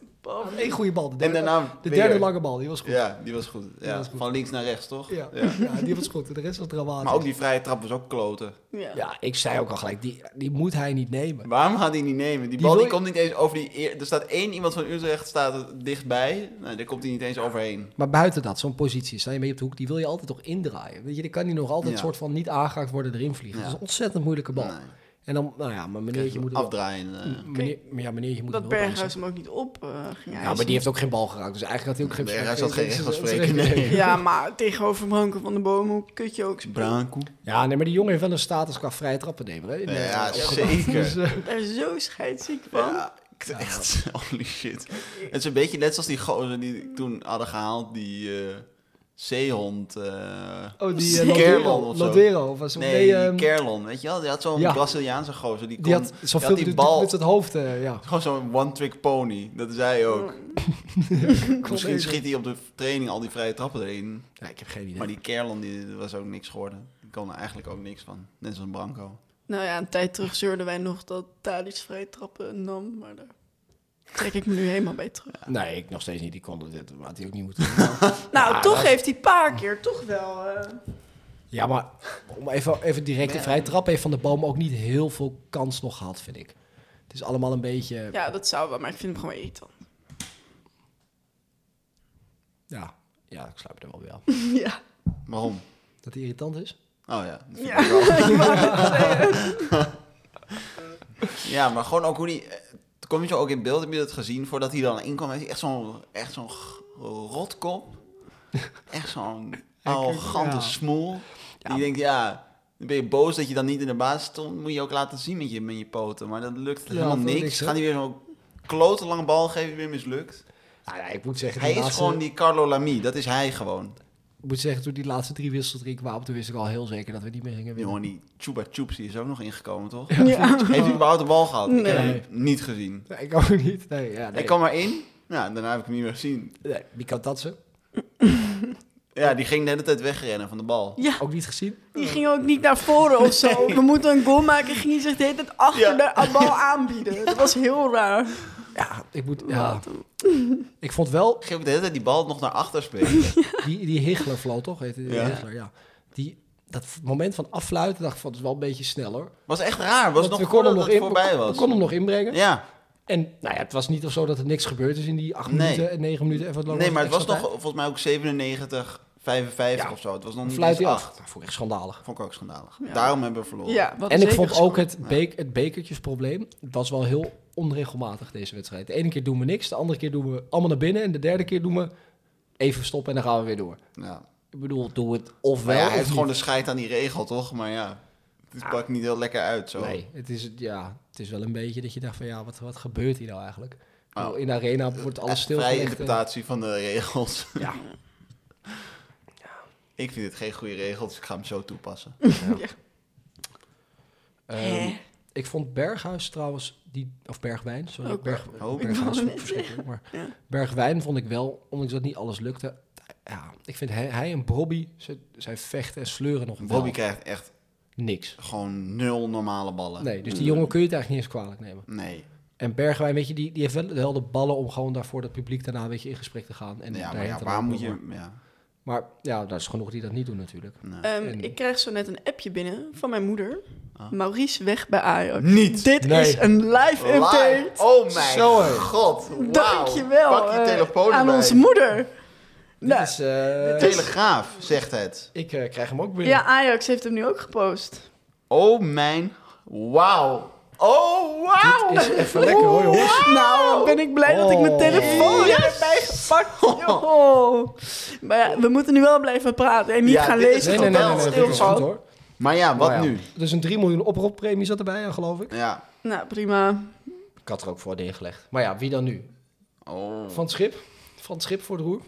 Speaker 5: Eén goede bal. De
Speaker 3: Oh, En
Speaker 5: derde,
Speaker 3: daarna
Speaker 5: de
Speaker 3: weer.
Speaker 5: derde lange bal, die was goed. Ja,
Speaker 3: Ja, die was goed. Ja,
Speaker 5: was goed.
Speaker 3: Van links naar rechts, toch?
Speaker 5: *laughs* ja.
Speaker 3: Ja.
Speaker 5: die was goed. De rest was dramatisch.
Speaker 3: Maar ook die vrije trap was ook kloten.
Speaker 2: Ja.
Speaker 5: Ja, ik zei ook al gelijk, die, die moet hij niet nemen.
Speaker 3: Waarom gaat hij niet nemen? Die
Speaker 5: Die
Speaker 3: bal die
Speaker 5: wil-
Speaker 3: komt niet eens over die... eer- Er staat één iemand van Utrecht staat er dichtbij. Nou, daar komt hij niet eens overheen.
Speaker 5: Maar buiten dat, zo'n positie, sta je mee op de hoek, die wil je altijd toch indraaien. Weet je, dan kan die nog altijd
Speaker 3: Ja.
Speaker 5: soort van niet aangeraakt worden erin vliegen.
Speaker 3: Ja.
Speaker 5: Dat is een ontzettend moeilijke bal.
Speaker 3: Nee.
Speaker 5: En dan, nou ja, maar meneertje moet Mm. er wel-
Speaker 3: Afdraaien. eh,
Speaker 5: meneer, maar ja, meneertje moet
Speaker 2: Dat
Speaker 5: er wel bij
Speaker 2: Berghuis
Speaker 5: zitten.
Speaker 2: hem ook niet op eh, ging
Speaker 5: Ja, maar
Speaker 2: eisen.
Speaker 5: die heeft ook geen bal geraakt, dus eigenlijk had hij ook geen...
Speaker 3: Berghuis had geen recht van
Speaker 5: geen-
Speaker 3: spreken,
Speaker 5: geen-
Speaker 3: nee.
Speaker 2: Ja, maar tegenover Branko van de Boom, hoe kut je ook spelen.
Speaker 3: Branco.
Speaker 5: *laughs* Ja, nee, maar die jongen heeft wel een status qua vrije trappen nemen. Hè?
Speaker 3: Ja,
Speaker 5: Nee,
Speaker 3: ja,
Speaker 5: opgebouwd.
Speaker 3: zeker.
Speaker 5: *laughs* Dus, eh,
Speaker 2: Daar is zo scheidsziek van.
Speaker 3: Ja, ik- echt. Holy shit. Het is een beetje net zoals die gozer die ik toen hadden gehaald. Die eh zeehond. eh,
Speaker 5: oh, die
Speaker 3: *laughs*
Speaker 5: eh,
Speaker 3: Kerlon
Speaker 5: Lodero
Speaker 3: of zo.
Speaker 5: Lodero. Was,
Speaker 3: nee,
Speaker 5: nee, ehm,
Speaker 3: die Kerlon. Weet je wel? Die had zo'n
Speaker 5: ja.
Speaker 3: Braziliaanse gozer. Die, kon,
Speaker 5: die had
Speaker 3: die,
Speaker 5: zoveel te
Speaker 3: die
Speaker 5: doen
Speaker 3: bal...
Speaker 5: met het hoofd, eh, ja.
Speaker 3: Gewoon zo'n one-trick pony. Dat is hij ook.
Speaker 5: Mm.
Speaker 3: *laughs* Misschien
Speaker 5: even.
Speaker 3: schiet hij op de training al die vrije trappen erin.
Speaker 5: ja. Ik heb geen idee.
Speaker 3: Maar die Kerlon die was ook niks geworden. Die kon er eigenlijk ook niks van. Net zoals Branco.
Speaker 2: Nou ja, een tijd terug zeurden wij nog dat Tadic vrij trappen nam, maar daar trek ik me nu helemaal bij terug.
Speaker 5: Nee, ik nog steeds niet. Die kon dit, had hij ook niet moeten doen.
Speaker 2: nou,
Speaker 5: ja,
Speaker 2: toch
Speaker 5: dat-
Speaker 2: heeft hij een paar keer toch wel... eh,
Speaker 5: Ja, maar om even, even direct een vrije trap heeft Van de Boom ook niet heel veel kans nog gehad, vind ik. Het is allemaal een beetje... Ja,
Speaker 2: ja, dat zou wel, maar ik vind hem gewoon eten.
Speaker 5: ja, ik sluit er wel weer aan.
Speaker 2: *laughs* ja.
Speaker 3: Waarom?
Speaker 5: Dat hij irritant is?
Speaker 3: Oh ja, dat vind
Speaker 2: Ja.
Speaker 3: *laughs* ik wel. *laughs* ja, maar gewoon ook hoe die... eh, Kom je zo ook in beeld, heb je dat gezien? Voordat hij dan inkwam, heeft hij echt zo'n echt zo'n g- *laughs* rotkop. Echt zo'n arrogante
Speaker 5: ja.
Speaker 3: smoel. Die denkt, ja, dan ben je boos dat je dan niet in de baas stond. Moet je ook laten zien met je, met je poten. Maar dat lukt helemaal
Speaker 5: voor
Speaker 3: niks.
Speaker 5: niks, hè?
Speaker 3: Gaan die weer zo'n klote lange bal geven, weer mislukt.
Speaker 5: Nou, ja, ik moet zeggen...
Speaker 3: Hij
Speaker 5: die
Speaker 3: is
Speaker 5: laatste-
Speaker 3: gewoon die Carlo Lamy, dat is hij gewoon.
Speaker 5: moet zeggen, toen die laatste drie wissels erin kwamen, toen wist ik al heel zeker dat we niet meer gingen winnen.
Speaker 3: Jongen, die Chuba Chups die is ook nog ingekomen, toch?
Speaker 2: Ja.
Speaker 3: Heeft hij überhaupt de bal gehad? Ik heb
Speaker 5: Oh. Nee.
Speaker 3: hem niet gezien.
Speaker 5: Nee, ik ook niet. Nee, ja, nee.
Speaker 3: Ik kwam maar in. Nou, daarna heb ik hem niet meer gezien.
Speaker 5: nee, Mika Tatsen,
Speaker 3: Ja, die ging de hele tijd wegrennen van de bal.
Speaker 2: Ja,
Speaker 5: ook niet gezien.
Speaker 2: die ging ook niet naar voren of zo. We moeten een goal maken. Ging hij zich de hele tijd achter
Speaker 3: Ja.
Speaker 2: de bal aanbieden. Dat was heel raar.
Speaker 5: Ja, ik moet... Ja, *laughs* ik vond wel,
Speaker 3: Ik ging ook de hele tijd die bal nog naar achter spelen. *laughs*
Speaker 5: die, die Higgler floot toch? Heette die
Speaker 3: Ja.
Speaker 5: Higgler, ja. Die, dat moment van affluiten dacht ik van, het is wel een beetje snel hoor.
Speaker 3: Was echt raar. Was
Speaker 5: Want
Speaker 3: nog
Speaker 5: we konden
Speaker 3: voordat
Speaker 5: hem nog
Speaker 3: het
Speaker 5: in,
Speaker 3: voorbij
Speaker 5: we-
Speaker 3: was.
Speaker 5: We konden hem nog inbrengen.
Speaker 3: Ja.
Speaker 5: En nou ja, het was niet of zo dat er niks gebeurd is in die acht
Speaker 3: Nee.
Speaker 5: minuten en negen minuten. En wat lang
Speaker 3: Nee, maar het was
Speaker 5: extra
Speaker 3: nog
Speaker 5: tijd?
Speaker 3: volgens mij ook 97, 55
Speaker 5: Ja.
Speaker 3: of zo. Het was nog niet
Speaker 5: Fluit
Speaker 3: eens
Speaker 5: hij
Speaker 3: 8.
Speaker 5: af. Dat vond ik echt schandalig.
Speaker 3: Vond ik ook schandalig.
Speaker 2: Ja.
Speaker 3: Daarom hebben we verloren.
Speaker 2: Ja, wat
Speaker 5: En ik
Speaker 2: zeker
Speaker 5: vond
Speaker 2: zo.
Speaker 5: ook het, beek, het bekertjesprobleem. Het was wel heel onregelmatig deze wedstrijd. De ene keer doen we niks, de andere keer doen we allemaal naar binnen. En de derde keer doen we even stoppen en dan gaan we weer door.
Speaker 3: Ja.
Speaker 5: Ik bedoel, doe het of
Speaker 3: Maar
Speaker 5: wel
Speaker 3: Nou ja,
Speaker 5: of
Speaker 3: hij heeft
Speaker 5: niet.
Speaker 3: gewoon de scheid aan die regel, toch? Maar ja, het pakt niet heel lekker uit zo.
Speaker 5: Nee, het is, ja, het is wel een beetje dat je dacht van ja, wat, wat gebeurt hier nou eigenlijk? Ik
Speaker 3: Oh.
Speaker 5: bedoel, In de arena wordt alles
Speaker 3: Echt Vrije
Speaker 5: stilgelegd. en-
Speaker 3: interpretatie van de regels. *laughs*
Speaker 5: Ja.
Speaker 3: Ik vind het geen goede regel, dus ik ga hem
Speaker 5: *laughs*
Speaker 3: zo toepassen.
Speaker 5: Ehm,
Speaker 2: Hè?
Speaker 5: ik vond Berghuis trouwens, die, of Bergwijn, sorry.
Speaker 2: Ook
Speaker 5: Berg,
Speaker 3: wel. Oh,
Speaker 5: Berghuis
Speaker 2: ik wou
Speaker 5: vond ik
Speaker 2: net
Speaker 5: verschrikkelijk. Maar
Speaker 2: Ja.
Speaker 5: Bergwijn vond ik wel, ondanks dat niet alles lukte. Ja, ik vind hij, hij en Bobby, ze, zij vechten en sleuren nog
Speaker 3: Bobby
Speaker 5: wel
Speaker 3: krijgt echt
Speaker 5: niks.
Speaker 3: gewoon nul normale ballen.
Speaker 5: Nee, dus die jongen kun je het eigenlijk niet eens kwalijk nemen.
Speaker 3: Nee.
Speaker 5: En Bergwijn, weet je, die, die heeft wel, wel de ballen om gewoon daarvoor dat publiek daarna een beetje in gesprek te gaan. En
Speaker 3: ja, maar
Speaker 5: daarheen
Speaker 3: ja,
Speaker 5: te
Speaker 3: waar
Speaker 5: lopen.
Speaker 3: moet je... Ja.
Speaker 5: Maar ja, dat is genoeg die dat niet doen natuurlijk.
Speaker 2: Ehm,
Speaker 5: En-
Speaker 2: Ik krijg zo net een appje binnen van mijn moeder. Maurice weg bij Ajax.
Speaker 3: Ah. Niet.
Speaker 2: Dit
Speaker 5: Nee.
Speaker 2: is een live update.
Speaker 3: Live. Oh mijn
Speaker 5: Zo, hè.
Speaker 3: god. Wauw.
Speaker 2: Dankjewel.
Speaker 3: Pak je
Speaker 2: eh,
Speaker 3: telefoon
Speaker 2: aan
Speaker 3: erbij.
Speaker 2: onze moeder. Nou,
Speaker 5: Dus, eh,
Speaker 3: Telegraaf zegt het.
Speaker 5: ik eh, krijg hem ook binnen.
Speaker 2: ja, Ajax heeft hem nu ook gepost.
Speaker 3: Oh mijn... Wauw. Oh, wauw.
Speaker 5: Is even lekker hoor jongens.
Speaker 2: Nou, wat ben ik blij dat ik mijn
Speaker 5: Oh.
Speaker 2: telefoon heb
Speaker 5: *laughs*
Speaker 2: bijgepakt. joh. Maar ja, we moeten nu wel blijven praten en niet
Speaker 3: Ja,
Speaker 2: gaan
Speaker 3: dit is
Speaker 2: lezen.
Speaker 5: Nee,
Speaker 2: tot
Speaker 5: nee, nee, nee,
Speaker 2: wel
Speaker 5: nee, dit is
Speaker 2: stilvalt.
Speaker 5: goed hoor.
Speaker 3: Maar ja, wat
Speaker 5: Maar ja,
Speaker 3: nu?
Speaker 5: Dus een 3 miljoen oproeppremie zat erbij, aan, geloof ik.
Speaker 3: Ja.
Speaker 2: Nou, prima.
Speaker 5: Ik had er ook voor neergelegd. Maar ja, wie dan nu?
Speaker 3: Oh.
Speaker 5: Van het schip? Van het schip voor de roer?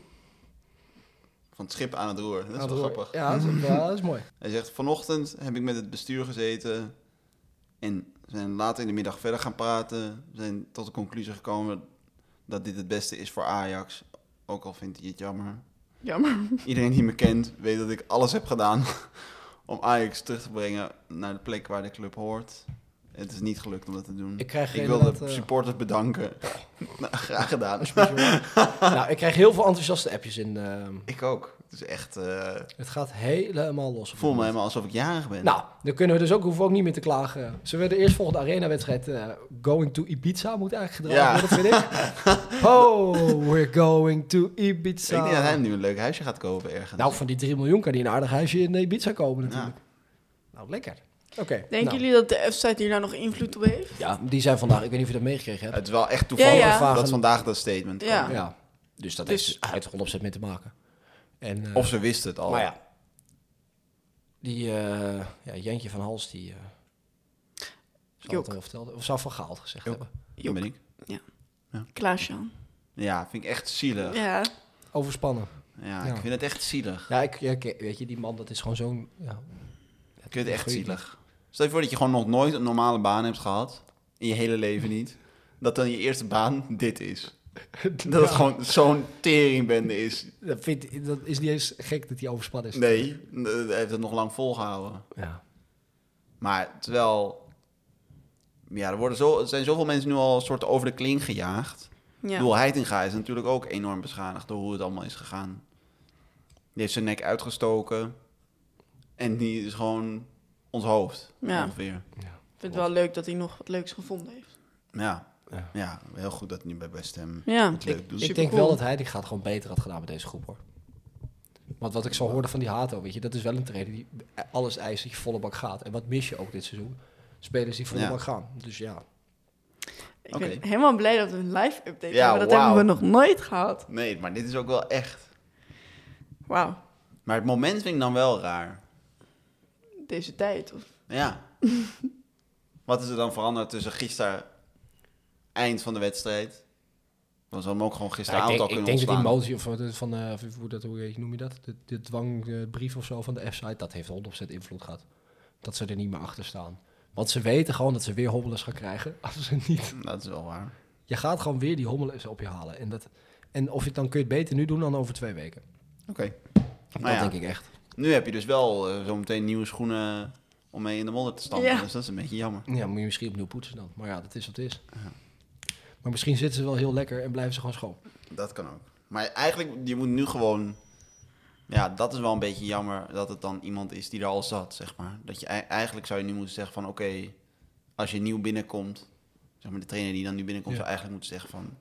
Speaker 3: Van het schip aan het roer. Dat is
Speaker 5: Aan
Speaker 3: wel
Speaker 5: het roer.
Speaker 3: grappig.
Speaker 5: Ja, dat is,
Speaker 3: *laughs*
Speaker 5: ja, dat is mooi. *laughs*
Speaker 3: Hij zegt, vanochtend heb ik met het bestuur gezeten en we zijn later in de middag verder gaan praten. We zijn tot de conclusie gekomen dat dit het beste is voor Ajax. Ook al vindt hij het
Speaker 5: *laughs*
Speaker 3: jammer.
Speaker 2: Jammer.
Speaker 3: Iedereen die me kent weet dat ik alles heb gedaan *laughs* om Ajax terug te brengen naar de plek waar de club hoort. Het is niet gelukt om dat te doen.
Speaker 5: Ik krijg
Speaker 3: wil de
Speaker 5: inderdaad, eh,
Speaker 3: supporters
Speaker 5: *laughs*
Speaker 3: bedanken. nou, graag gedaan.
Speaker 5: nou, ik krijg heel veel enthousiaste appjes in. ehm,
Speaker 3: Ik ook. Het is echt... eh,
Speaker 5: het gaat helemaal los. op
Speaker 3: ik voel
Speaker 5: dit
Speaker 3: me
Speaker 5: moment.
Speaker 3: helemaal alsof ik jarig ben.
Speaker 5: Nou, dan kunnen we dus ook, hoeven we ook niet meer te klagen. Zullen we de eerstvolgende arena-wedstrijd eh, Going to Ibiza moet eigenlijk gedraaid
Speaker 3: Ja.
Speaker 5: worden, vind
Speaker 3: *laughs*
Speaker 5: ik. Oh, we're going to Ibiza.
Speaker 3: ik denk dat hij nu een leuk huisje gaat kopen ergens.
Speaker 5: eh, Nou, van die 3 miljoen kan die een aardig huisje in Ibiza komen natuurlijk. Nou, lekker. Oké.
Speaker 2: Denken
Speaker 5: nou.
Speaker 2: jullie dat de F-site hier nou nog invloed op heeft?
Speaker 5: Ja, die zijn vandaag, ik weet niet of je dat meegekregen hebt.
Speaker 3: het is wel echt toevallig
Speaker 2: Ja, ja.
Speaker 3: dat vandaag dat statement
Speaker 2: Ja.
Speaker 3: kwam.
Speaker 5: Ja, dus dat
Speaker 2: Dus-
Speaker 5: heeft er uit 100% mee te maken. En, eh,
Speaker 3: Of ze wist het al.
Speaker 5: Maar ja, die eh, ja, Jantje van Hals, die eh zou
Speaker 2: Joek.
Speaker 5: het al vertelde, of zou van Gaal het gezegd
Speaker 3: Joek.
Speaker 5: hebben.
Speaker 3: Dat ben ik.
Speaker 2: Klaasje.
Speaker 3: Ja, vind ik echt zielig. Ja,
Speaker 2: Ja.
Speaker 5: Overspannen. Ja.
Speaker 3: ik vind het echt zielig.
Speaker 5: Ja, ik, ja, ik- weet je, die man, dat is gewoon zo'n... Ja,
Speaker 3: Ik vind het echt
Speaker 5: Goeie
Speaker 3: zielig. Stel je voor dat je gewoon nog nooit een normale baan hebt gehad. In je hele leven niet. Dat dan je eerste baan dit
Speaker 5: *laughs*
Speaker 3: is. Dat het gewoon zo'n teringbende is.
Speaker 5: dat, vind, dat is niet eens gek dat hij overspannen is.
Speaker 3: Nee, eh, hij heeft het nog lang volgehouden.
Speaker 5: Ja.
Speaker 3: Maar terwijl... Ja, er, worden zo, er zijn zoveel mensen nu al een soort over de kling gejaagd.
Speaker 2: Ja.
Speaker 3: Doel Heitinga is natuurlijk ook enorm beschadigd door hoe het allemaal is gegaan. Die heeft zijn nek uitgestoken. En die is gewoon ons hoofd,
Speaker 2: Ja.
Speaker 3: ongeveer.
Speaker 2: Ik vind het wel leuk dat hij nog wat leuks gevonden heeft.
Speaker 3: Ja.
Speaker 5: Ja.
Speaker 3: ja. heel goed dat hij nu bij West Ham
Speaker 2: Ja.
Speaker 3: het leuk doet.
Speaker 5: Ik denk wel dat hij die gaat gewoon beter had gedaan met deze groep, hoor. Want wat ik zo hoorde van die Hato, weet je, dat is wel een trainer die alles eist dat je volle bak gaat. En wat mis je ook dit seizoen? Spelers die volle
Speaker 3: Ja.
Speaker 5: bak gaan. Dus ja,
Speaker 2: Ik
Speaker 3: Oké.
Speaker 2: ben helemaal blij dat we een live update
Speaker 3: Ja,
Speaker 2: hebben. Dat
Speaker 3: wauw.
Speaker 2: hebben we nog nooit gehad.
Speaker 3: Nee, maar dit is ook wel echt.
Speaker 2: Wauw.
Speaker 3: Maar het moment vind ik dan wel raar.
Speaker 2: Deze tijd. Of... *laughs*
Speaker 3: Ja. Wat is er dan veranderd tussen gisteren eind van de wedstrijd Want ze hadden hem ook gewoon
Speaker 5: Ja, ik
Speaker 3: gisteravond
Speaker 5: denk,
Speaker 3: al
Speaker 5: ik
Speaker 3: kunnen
Speaker 5: denk dat die
Speaker 3: ontslaan.
Speaker 5: motie, of eh, van, eh, of hoe, dat, hoe noem je dat? De, de dwangbrief of zo van de F-site, dat heeft 100% invloed gehad. Dat ze er niet meer achter staan. Want ze weten gewoon dat ze weer hobbelers gaan krijgen *laughs* als ze niet
Speaker 3: Dat is wel waar.
Speaker 5: Je gaat gewoon weer die hommel eens op je halen. En, dat, en of je het dan kun je het beter nu doen dan over twee weken.
Speaker 3: Oké.
Speaker 5: Dat
Speaker 3: Nou ja.
Speaker 5: denk ik echt.
Speaker 3: Nu heb je dus wel eh, zometeen nieuwe schoenen om mee in de modder te stampen.
Speaker 2: Ja.
Speaker 3: Dus dat is een beetje jammer.
Speaker 5: Ja, moet je misschien opnieuw poetsen dan. Maar ja, dat is wat het is. Maar misschien zitten ze wel heel lekker en blijven ze gewoon schoon.
Speaker 3: Dat kan ook. Maar eigenlijk, je moet nu gewoon... Ja, dat is wel een beetje jammer dat het dan iemand is die er al zat, zeg maar. Dat je, ei- eigenlijk zou je nu moeten zeggen van, oké, als je nieuw binnenkomt... Zeg maar, de trainer die dan nu binnenkomt
Speaker 5: Ja.
Speaker 3: zou eigenlijk moeten zeggen van...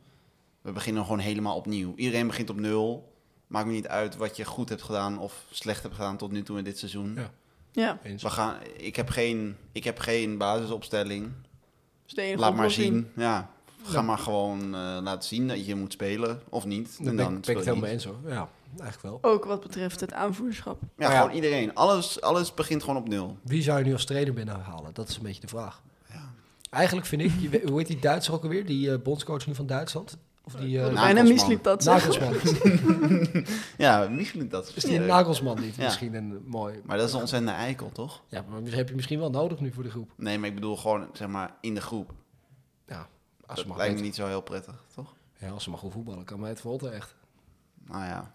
Speaker 3: We beginnen gewoon helemaal opnieuw. Iedereen begint op nul. Maakt me niet uit wat je goed hebt gedaan of slecht hebt gedaan tot nu toe in dit seizoen.
Speaker 5: Ja.
Speaker 2: Ja,
Speaker 5: Eens.
Speaker 3: We gaan, ik, heb geen, ik heb geen basisopstelling.
Speaker 2: dat is de enige
Speaker 3: Laat maar
Speaker 2: oplossing.
Speaker 3: zien. Ja. Ga maar gewoon eh, laten zien dat je moet spelen of niet.
Speaker 5: Dan ben
Speaker 3: en
Speaker 5: ik-
Speaker 3: dan
Speaker 5: ben ik
Speaker 3: speel
Speaker 5: het
Speaker 3: je
Speaker 5: helemaal
Speaker 3: niet.
Speaker 5: eens hoor. Ja, eigenlijk wel.
Speaker 2: Ook wat betreft het aanvoerderschap.
Speaker 3: Ja,
Speaker 5: Maar ja.
Speaker 3: gewoon iedereen. Alles, alles begint gewoon op nul.
Speaker 5: Wie zou je nu als trainer binnenhalen? Dat is een beetje de vraag. Eigenlijk vind ik, je weet- hoe heet die Duitser ook alweer? Die eh, bondscoach nu van Duitsland? Of die eh,
Speaker 2: Bijna
Speaker 3: Nou, Nagelsman.
Speaker 2: misliep dat, zeg.
Speaker 5: Nagelsman.
Speaker 3: Ja, misschien dat. is
Speaker 5: Is die
Speaker 3: leuk.
Speaker 5: Nagelsman niet
Speaker 3: Ja.
Speaker 5: misschien een eh, mooi...
Speaker 3: Maar dat is een ontzettende eikel, toch?
Speaker 5: Ja, maar heb je misschien wel nodig nu voor de groep.
Speaker 3: Nee, maar ik bedoel gewoon, zeg maar, in de groep.
Speaker 5: Ja, als
Speaker 3: Dat
Speaker 5: ze maar
Speaker 3: lijkt me
Speaker 5: beter-
Speaker 3: niet zo heel prettig, toch?
Speaker 5: Ja, als ze maar goed voetballen, kan mij het verrotten echt.
Speaker 3: Nou ja,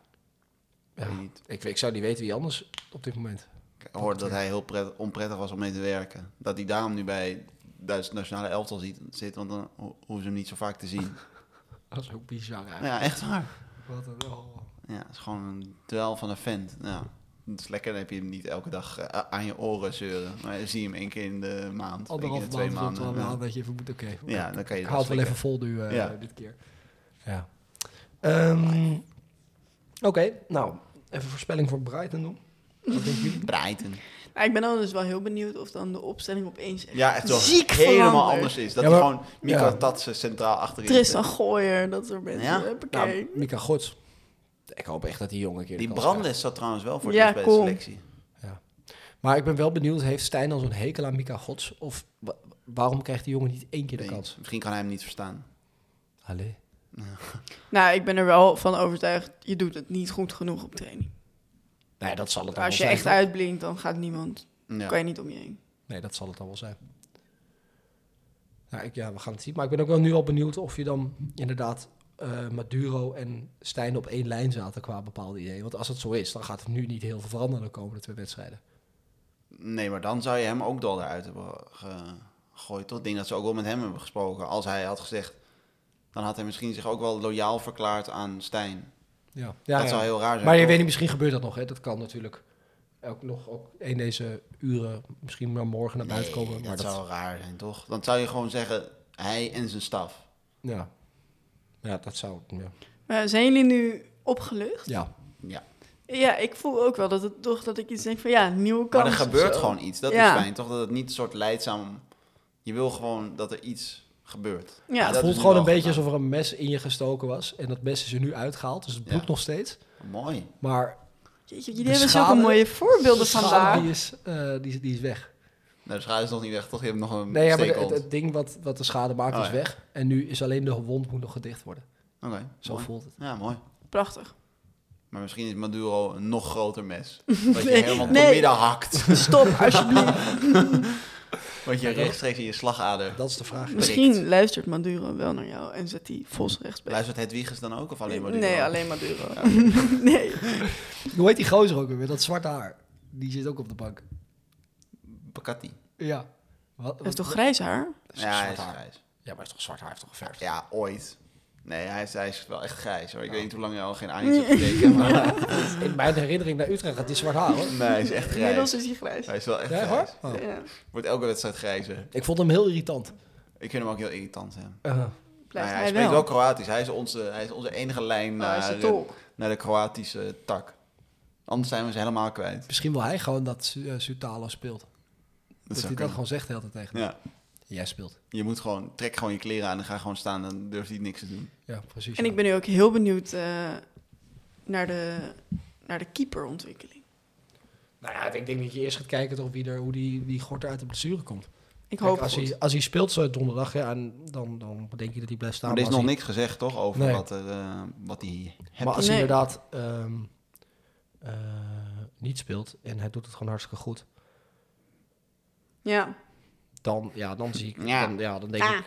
Speaker 5: Ja.
Speaker 3: weet niet.
Speaker 5: Ik, ik zou niet weten wie anders op dit moment.
Speaker 3: Ik hoorde dat hij heel pret- onprettig was om mee te werken. Dat hij daarom nu bij het Duitse nationale elftal ziet, zit, want dan ho- hoeven ze hem niet zo vaak te zien.
Speaker 5: Dat is ook bizar eigenlijk.
Speaker 3: Ja, echt waar.
Speaker 5: Wat een- oh.
Speaker 3: Ja, het is gewoon een duel van een vent. Ja, dat is lekker. Dan heb je hem niet elke dag eh, aan je oren zeuren. Maar dan zie je hem één keer in de maand. één keer in de
Speaker 5: Anderhalf
Speaker 3: twee
Speaker 5: maand komt wel
Speaker 3: maanden.
Speaker 5: aan
Speaker 3: Ja.
Speaker 5: dat je even moet... Oké, oké,
Speaker 3: Ja, dan kan
Speaker 5: ik haal
Speaker 3: je dat
Speaker 5: het wel
Speaker 3: slikken.
Speaker 5: even vol nu eh,
Speaker 3: Ja.
Speaker 5: dit keer. Ja. Ehm, oké, nou, even voorspelling voor Brighton doen. Wat denken jullie?
Speaker 3: Breiten.
Speaker 2: Nou, ik ben dan dus wel heel benieuwd of dan de opstelling opeens echt
Speaker 3: Ja, echt zo.
Speaker 2: ziek
Speaker 3: helemaal
Speaker 2: verandert.
Speaker 3: anders is. Dat
Speaker 5: Ja,
Speaker 3: hij
Speaker 5: maar-
Speaker 3: gewoon Mika
Speaker 5: ja.
Speaker 3: Tatsen centraal achterin
Speaker 2: Tristan
Speaker 3: zet.
Speaker 2: Gooier, dat soort mensen.
Speaker 3: Ja?
Speaker 2: Huppakee.
Speaker 5: Nou, Mika Gods. Ik hoop echt dat die jongen een keer de
Speaker 3: Die
Speaker 5: kans
Speaker 3: Brandes zat trouwens wel voor
Speaker 2: Ja,
Speaker 3: ja, bij de
Speaker 2: kom.
Speaker 3: selectie.
Speaker 5: krijgt. Maar ik ben wel benieuwd, heeft Stijn al zo'n hekel aan Mika Gods? Of wa- waarom krijgt die jongen niet één keer de
Speaker 3: Nee,
Speaker 5: kans?
Speaker 3: Misschien kan hij hem niet verstaan.
Speaker 5: Allee.
Speaker 2: Nou, ik ben er wel van overtuigd, je doet het niet goed genoeg op training.
Speaker 5: Nee, Nou dat zal het dan
Speaker 2: Als je
Speaker 5: wel
Speaker 2: echt
Speaker 5: zijn. toch?
Speaker 2: uitblinkt, dan gaat niemand,
Speaker 3: Ja.
Speaker 2: kan je niet om je heen.
Speaker 5: Nee, dat zal het dan wel zijn. Ja, ik, ja, we gaan het zien. Maar ik ben ook wel nu al benieuwd of je dan inderdaad eh, Maduro en Stijn op één lijn zaten qua bepaalde ideeën. Want als het zo is, dan gaat het nu niet heel veel veranderen de komende twee wedstrijden.
Speaker 3: Nee, maar dan zou je hem ook wel eruit hebben gegooid. Toch? Ik denk dat ze ook wel met hem hebben gesproken. Als hij had gezegd, dan had hij misschien zich ook wel loyaal verklaard aan Stijn.
Speaker 5: Ja, ja,
Speaker 3: dat
Speaker 5: ja.
Speaker 3: zou heel raar zijn.
Speaker 5: Maar je
Speaker 3: toch?
Speaker 5: weet niet, misschien gebeurt dat nog. Hè? Dat kan natuurlijk ook nog ook in deze uren, misschien maar morgen naar buiten komen.
Speaker 3: Nee,
Speaker 5: Maar
Speaker 3: dat,
Speaker 5: dat,
Speaker 3: zou raar zijn, toch? Dan zou je gewoon zeggen, hij en zijn staf.
Speaker 5: ja. ja, dat zou... Ja.
Speaker 2: Maar zijn jullie nu opgelucht?
Speaker 5: ja.
Speaker 3: Ja.
Speaker 2: Ja, ik voel ook wel dat het toch dat ik iets denk van ja, nieuwe kans.
Speaker 3: Maar er
Speaker 2: of
Speaker 3: gebeurt
Speaker 2: zo.
Speaker 3: gewoon iets. Dat
Speaker 2: Ja.
Speaker 3: is fijn, toch? Dat het niet een soort leidzaam... Je wil gewoon dat er iets gebeurt.
Speaker 2: Ja,
Speaker 3: dat
Speaker 5: het
Speaker 3: is
Speaker 5: voelt
Speaker 3: nu
Speaker 5: gewoon een
Speaker 3: wel
Speaker 5: beetje
Speaker 3: gedaan.
Speaker 5: alsof er een mes in je gestoken was. En dat mes is er nu uitgehaald, dus het
Speaker 3: Ja.
Speaker 5: bloedt nog steeds.
Speaker 3: Mooi.
Speaker 5: Maar
Speaker 2: Jeetje,
Speaker 5: De
Speaker 2: jullie hebben
Speaker 5: schade-
Speaker 2: zulke mooie voorbeelden
Speaker 5: de schade
Speaker 2: vandaag.
Speaker 5: Die is, eh, die, is- die is weg.
Speaker 3: Nou, de schaar is nog niet weg, toch? Je hebt nog een
Speaker 5: Nee, ja, maar
Speaker 3: steek
Speaker 5: het,
Speaker 3: rond.
Speaker 5: het ding wat, wat de schade maakt
Speaker 3: Oh,
Speaker 5: is
Speaker 3: ja.
Speaker 5: weg. En nu is alleen de wond moet nog gedicht worden.
Speaker 3: Oké,
Speaker 5: Zo
Speaker 3: mooi.
Speaker 5: voelt het.
Speaker 3: Ja, mooi.
Speaker 2: Prachtig.
Speaker 3: Maar misschien is Maduro een nog groter
Speaker 2: *laughs*
Speaker 3: mes. Dat je helemaal
Speaker 2: nee.
Speaker 3: door midden
Speaker 5: *laughs*
Speaker 3: hakt.
Speaker 2: Stop,
Speaker 3: *laughs*
Speaker 2: alsjeblieft.
Speaker 3: Wat je rechtstreeks in je slagader...
Speaker 5: Dat is de vraag.
Speaker 2: Misschien luistert Maduro wel naar jou en zet die Vos rechts bij.
Speaker 3: Luistert Hedwiges dan ook of alleen Maduro?
Speaker 2: Nee, alleen Maduro. *laughs* nee.
Speaker 5: *laughs* Hoe heet die gozer ook weer? met Dat zwarte haar. Die zit ook op de bank.
Speaker 3: Bacatti.
Speaker 5: Ja. Wat,
Speaker 2: Hij is toch grijs haar?
Speaker 5: Dat is
Speaker 3: Ja, hij
Speaker 5: zwart
Speaker 3: is
Speaker 5: haar.
Speaker 3: grijs.
Speaker 5: Ja, maar hij is toch zwart haar? Hij heeft toch geverfd?
Speaker 3: Ja, ooit. Nee, hij is, hij is wel echt grijs hoor. Ik weet niet hoe lang je al geen Ajax hebt gekeken, maar...
Speaker 5: In mijn herinnering naar Utrecht gaat hij zwart haar, *laughs* hoor.
Speaker 3: Nee, hij is echt
Speaker 2: Inmiddels
Speaker 3: grijs.
Speaker 2: is hij grijs.
Speaker 3: Hij is wel echt
Speaker 5: Ja,
Speaker 3: grijs.
Speaker 5: hoor? Oh.
Speaker 2: Ja,
Speaker 3: Wordt elke wedstrijd grijzer.
Speaker 5: Ik vond hem heel irritant.
Speaker 3: Ik vind hem ook heel irritant, hè. Nou
Speaker 2: Uh-huh.
Speaker 5: Eh,
Speaker 3: ja,
Speaker 2: blijft
Speaker 3: hij,
Speaker 2: hij
Speaker 3: spreekt eh, wel
Speaker 2: wel.
Speaker 3: Kroatisch. Hij is onze, hij is onze enige lijn
Speaker 2: Oh, hij is
Speaker 3: naar,
Speaker 2: de
Speaker 3: de,
Speaker 2: tolk.
Speaker 3: naar de Kroatische tak. Anders zijn we ze helemaal kwijt.
Speaker 5: misschien wil hij gewoon dat Su- eh, Sutalo speelt. Dat,
Speaker 3: Dat
Speaker 5: hij
Speaker 3: zou
Speaker 5: dat
Speaker 3: kunnen.
Speaker 5: gewoon zegt de hele tijd tegen hem.
Speaker 3: Ja,
Speaker 5: Jij speelt.
Speaker 3: je moet gewoon, trek gewoon je kleren aan en ga gewoon staan. Dan durft hij niks te doen.
Speaker 5: Ja, precies.
Speaker 2: En
Speaker 5: ja.
Speaker 2: ik ben nu ook heel benieuwd eh, naar, de, naar de keeperontwikkeling.
Speaker 5: Nou ja, ik denk dat je eerst gaat kijken toch wie er, hoe die, die Gorter uit de blessure komt.
Speaker 2: Ik
Speaker 5: Kijk,
Speaker 2: hoop
Speaker 5: als,
Speaker 2: goed.
Speaker 5: hij, als hij speelt zo donderdag, ja, en dan, dan denk je dat hij blijft staan.
Speaker 3: Maar er is
Speaker 5: Maar
Speaker 3: nog
Speaker 5: als
Speaker 3: niks gezegd, toch? Over
Speaker 5: Nee.
Speaker 3: wat, er, eh, wat hij
Speaker 5: hij- Maar
Speaker 3: hebt.
Speaker 5: als hij
Speaker 2: Nee.
Speaker 5: inderdaad ehm, eh, niet speelt en hij doet het gewoon hartstikke goed,
Speaker 2: Ja.
Speaker 5: dan, ja, dan zie ik,
Speaker 3: Ja.
Speaker 5: Dan, ja, dan denk
Speaker 2: Ah.
Speaker 5: ik.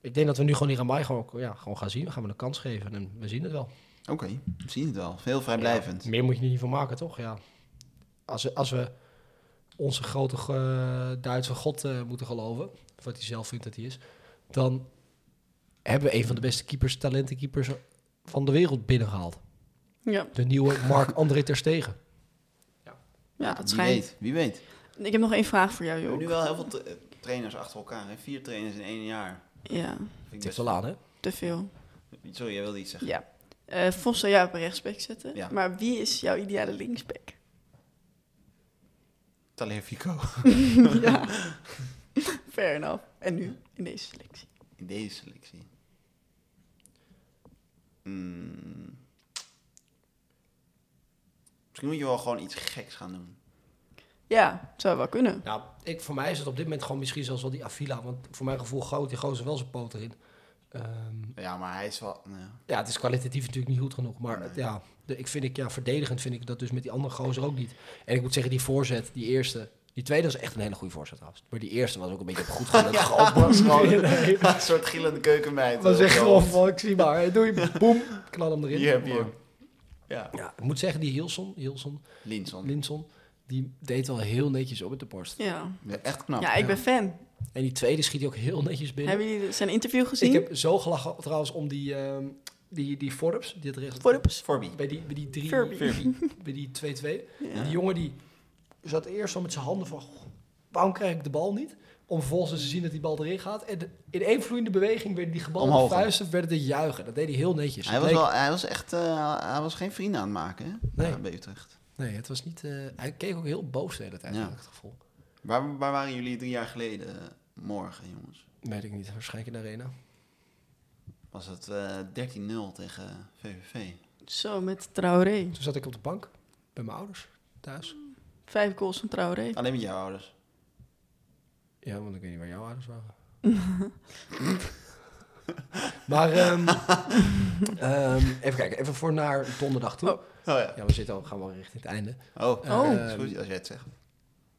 Speaker 5: Ik denk dat we nu gewoon Iramai gewoon, ja, gewoon gaan zien. We gaan hem een kans geven en we zien het wel.
Speaker 3: Oké, we zien het wel. Heel vrijblijvend.
Speaker 5: Ja, meer moet je er niet van maken, toch? Ja. Als, we- als we onze grote eh, Duitse god eh, moeten geloven, of wat hij zelf vindt dat hij is, dan hebben we een van de beste keepers, talentenkeepers van de wereld binnengehaald.
Speaker 2: Ja.
Speaker 5: De *laughs* nieuwe Mark André Ter Stegen.
Speaker 2: ja, dat
Speaker 3: Wie
Speaker 2: schijnt.
Speaker 3: weet, wie weet.
Speaker 2: Ik heb nog één vraag voor jou,
Speaker 3: We hebben
Speaker 2: Joop.
Speaker 3: nu wel heel veel tra- eh, trainers achter elkaar. Hè? Vier trainers in één jaar.
Speaker 2: Ja,
Speaker 3: Vind ik
Speaker 5: Het is
Speaker 3: best-
Speaker 5: wel aan, hè?
Speaker 2: te veel.
Speaker 3: Sorry, jij wilde iets zeggen.
Speaker 2: Ja. Eh Vos zou jou op een rechtsback zetten.
Speaker 3: Ja.
Speaker 2: Maar wie is jouw ideale
Speaker 3: *laughs*
Speaker 2: linksback?
Speaker 3: Taler Fico.
Speaker 2: ja. Fair enough. En nu in deze selectie.
Speaker 3: *laughs* In deze selectie. Hmm. Misschien moet je wel gewoon iets geks gaan doen.
Speaker 2: Ja, zou wel kunnen.
Speaker 5: Nou, ik, voor mij is het op dit moment gewoon misschien zelfs wel die Avila. Want voor mijn gevoel gooit die gozer wel zijn poot erin. Ehm,
Speaker 3: Ja, maar hij is wel...
Speaker 5: *laughs*
Speaker 3: ja.
Speaker 5: ja, het is kwalitatief natuurlijk niet goed genoeg. Maar
Speaker 3: Nee.
Speaker 5: het- ja, de, ik vind ik, ja, verdedigend vind ik dat dus met die andere gozer ook niet. En ik moet zeggen, die voorzet, die eerste... Die tweede was echt een hele goede voorzet trouwens. Maar die eerste was ook een beetje op goed *laughs* gaan.
Speaker 3: was *laughs* gewoon een soort gillende keukenmeid.
Speaker 5: was
Speaker 3: eh,
Speaker 5: echt
Speaker 3: op
Speaker 5: gewoon
Speaker 3: je hoofd.
Speaker 5: van, ik zie maar. Doei, boem, knal hem erin.
Speaker 3: Hier heb je
Speaker 5: Maar-
Speaker 3: hem. Ja.
Speaker 5: Ja, ik moet zeggen, die Hilson, Hilson,
Speaker 3: Linson.
Speaker 5: Linson, die deed wel heel netjes op met de borst.
Speaker 2: Ja.
Speaker 3: Nou, Ja, echt knap.
Speaker 2: Ja, ik ben fan.
Speaker 5: En die tweede schiet hij ook heel netjes binnen.
Speaker 2: Hebben jullie zijn interview gezien?
Speaker 5: Ik heb zo gelachen trouwens om die, ehm die, die Forbes. Die het rechts-
Speaker 2: Voor de
Speaker 3: Forby.
Speaker 5: Bij die, bij die drie,
Speaker 2: Furby.
Speaker 3: *laughs*
Speaker 5: bij die 2-2. Die jongen die zat eerst al met zijn handen van, "Goh, waarom krijg ik de bal niet? Om vervolgens te zien dat die bal erin gaat. En de- in één vloeiende beweging werden die gebalde
Speaker 3: Omhoog.
Speaker 5: vuisten werden de juichen. Dat deed hij heel netjes.
Speaker 3: Hij
Speaker 5: Het
Speaker 3: was,
Speaker 5: leek-
Speaker 3: wel, hij was echt... eh, hij was geen vrienden aan het maken, hè?
Speaker 5: Nee.
Speaker 3: Ja, bij Utrecht.
Speaker 5: Nee, het was niet... eh, hij keek ook heel boos de hele tijd,
Speaker 3: Ja.
Speaker 5: had ik het gevoel.
Speaker 3: Waar, waar waren jullie drie jaar geleden eh, morgen, jongens?
Speaker 5: Weet ik niet, waarschijnlijk in de arena.
Speaker 3: Was het eh 13-0 tegen VVV?
Speaker 2: Zo, met Traoré.
Speaker 5: Toen zat ik op de bank bij mijn ouders thuis.
Speaker 2: Vijf goals van Traoré.
Speaker 3: Alleen met jouw ouders.
Speaker 5: Ja, want ik weet niet waar jouw ouders waren. *laughs* maar ehm, ehm, even kijken, even voor naar donderdag toe.
Speaker 3: Oh ja.
Speaker 5: Ja, we zitten al, gaan wel richting het einde.
Speaker 3: Oh,
Speaker 2: Oh.
Speaker 3: *laughs* is goed als jij het zegt.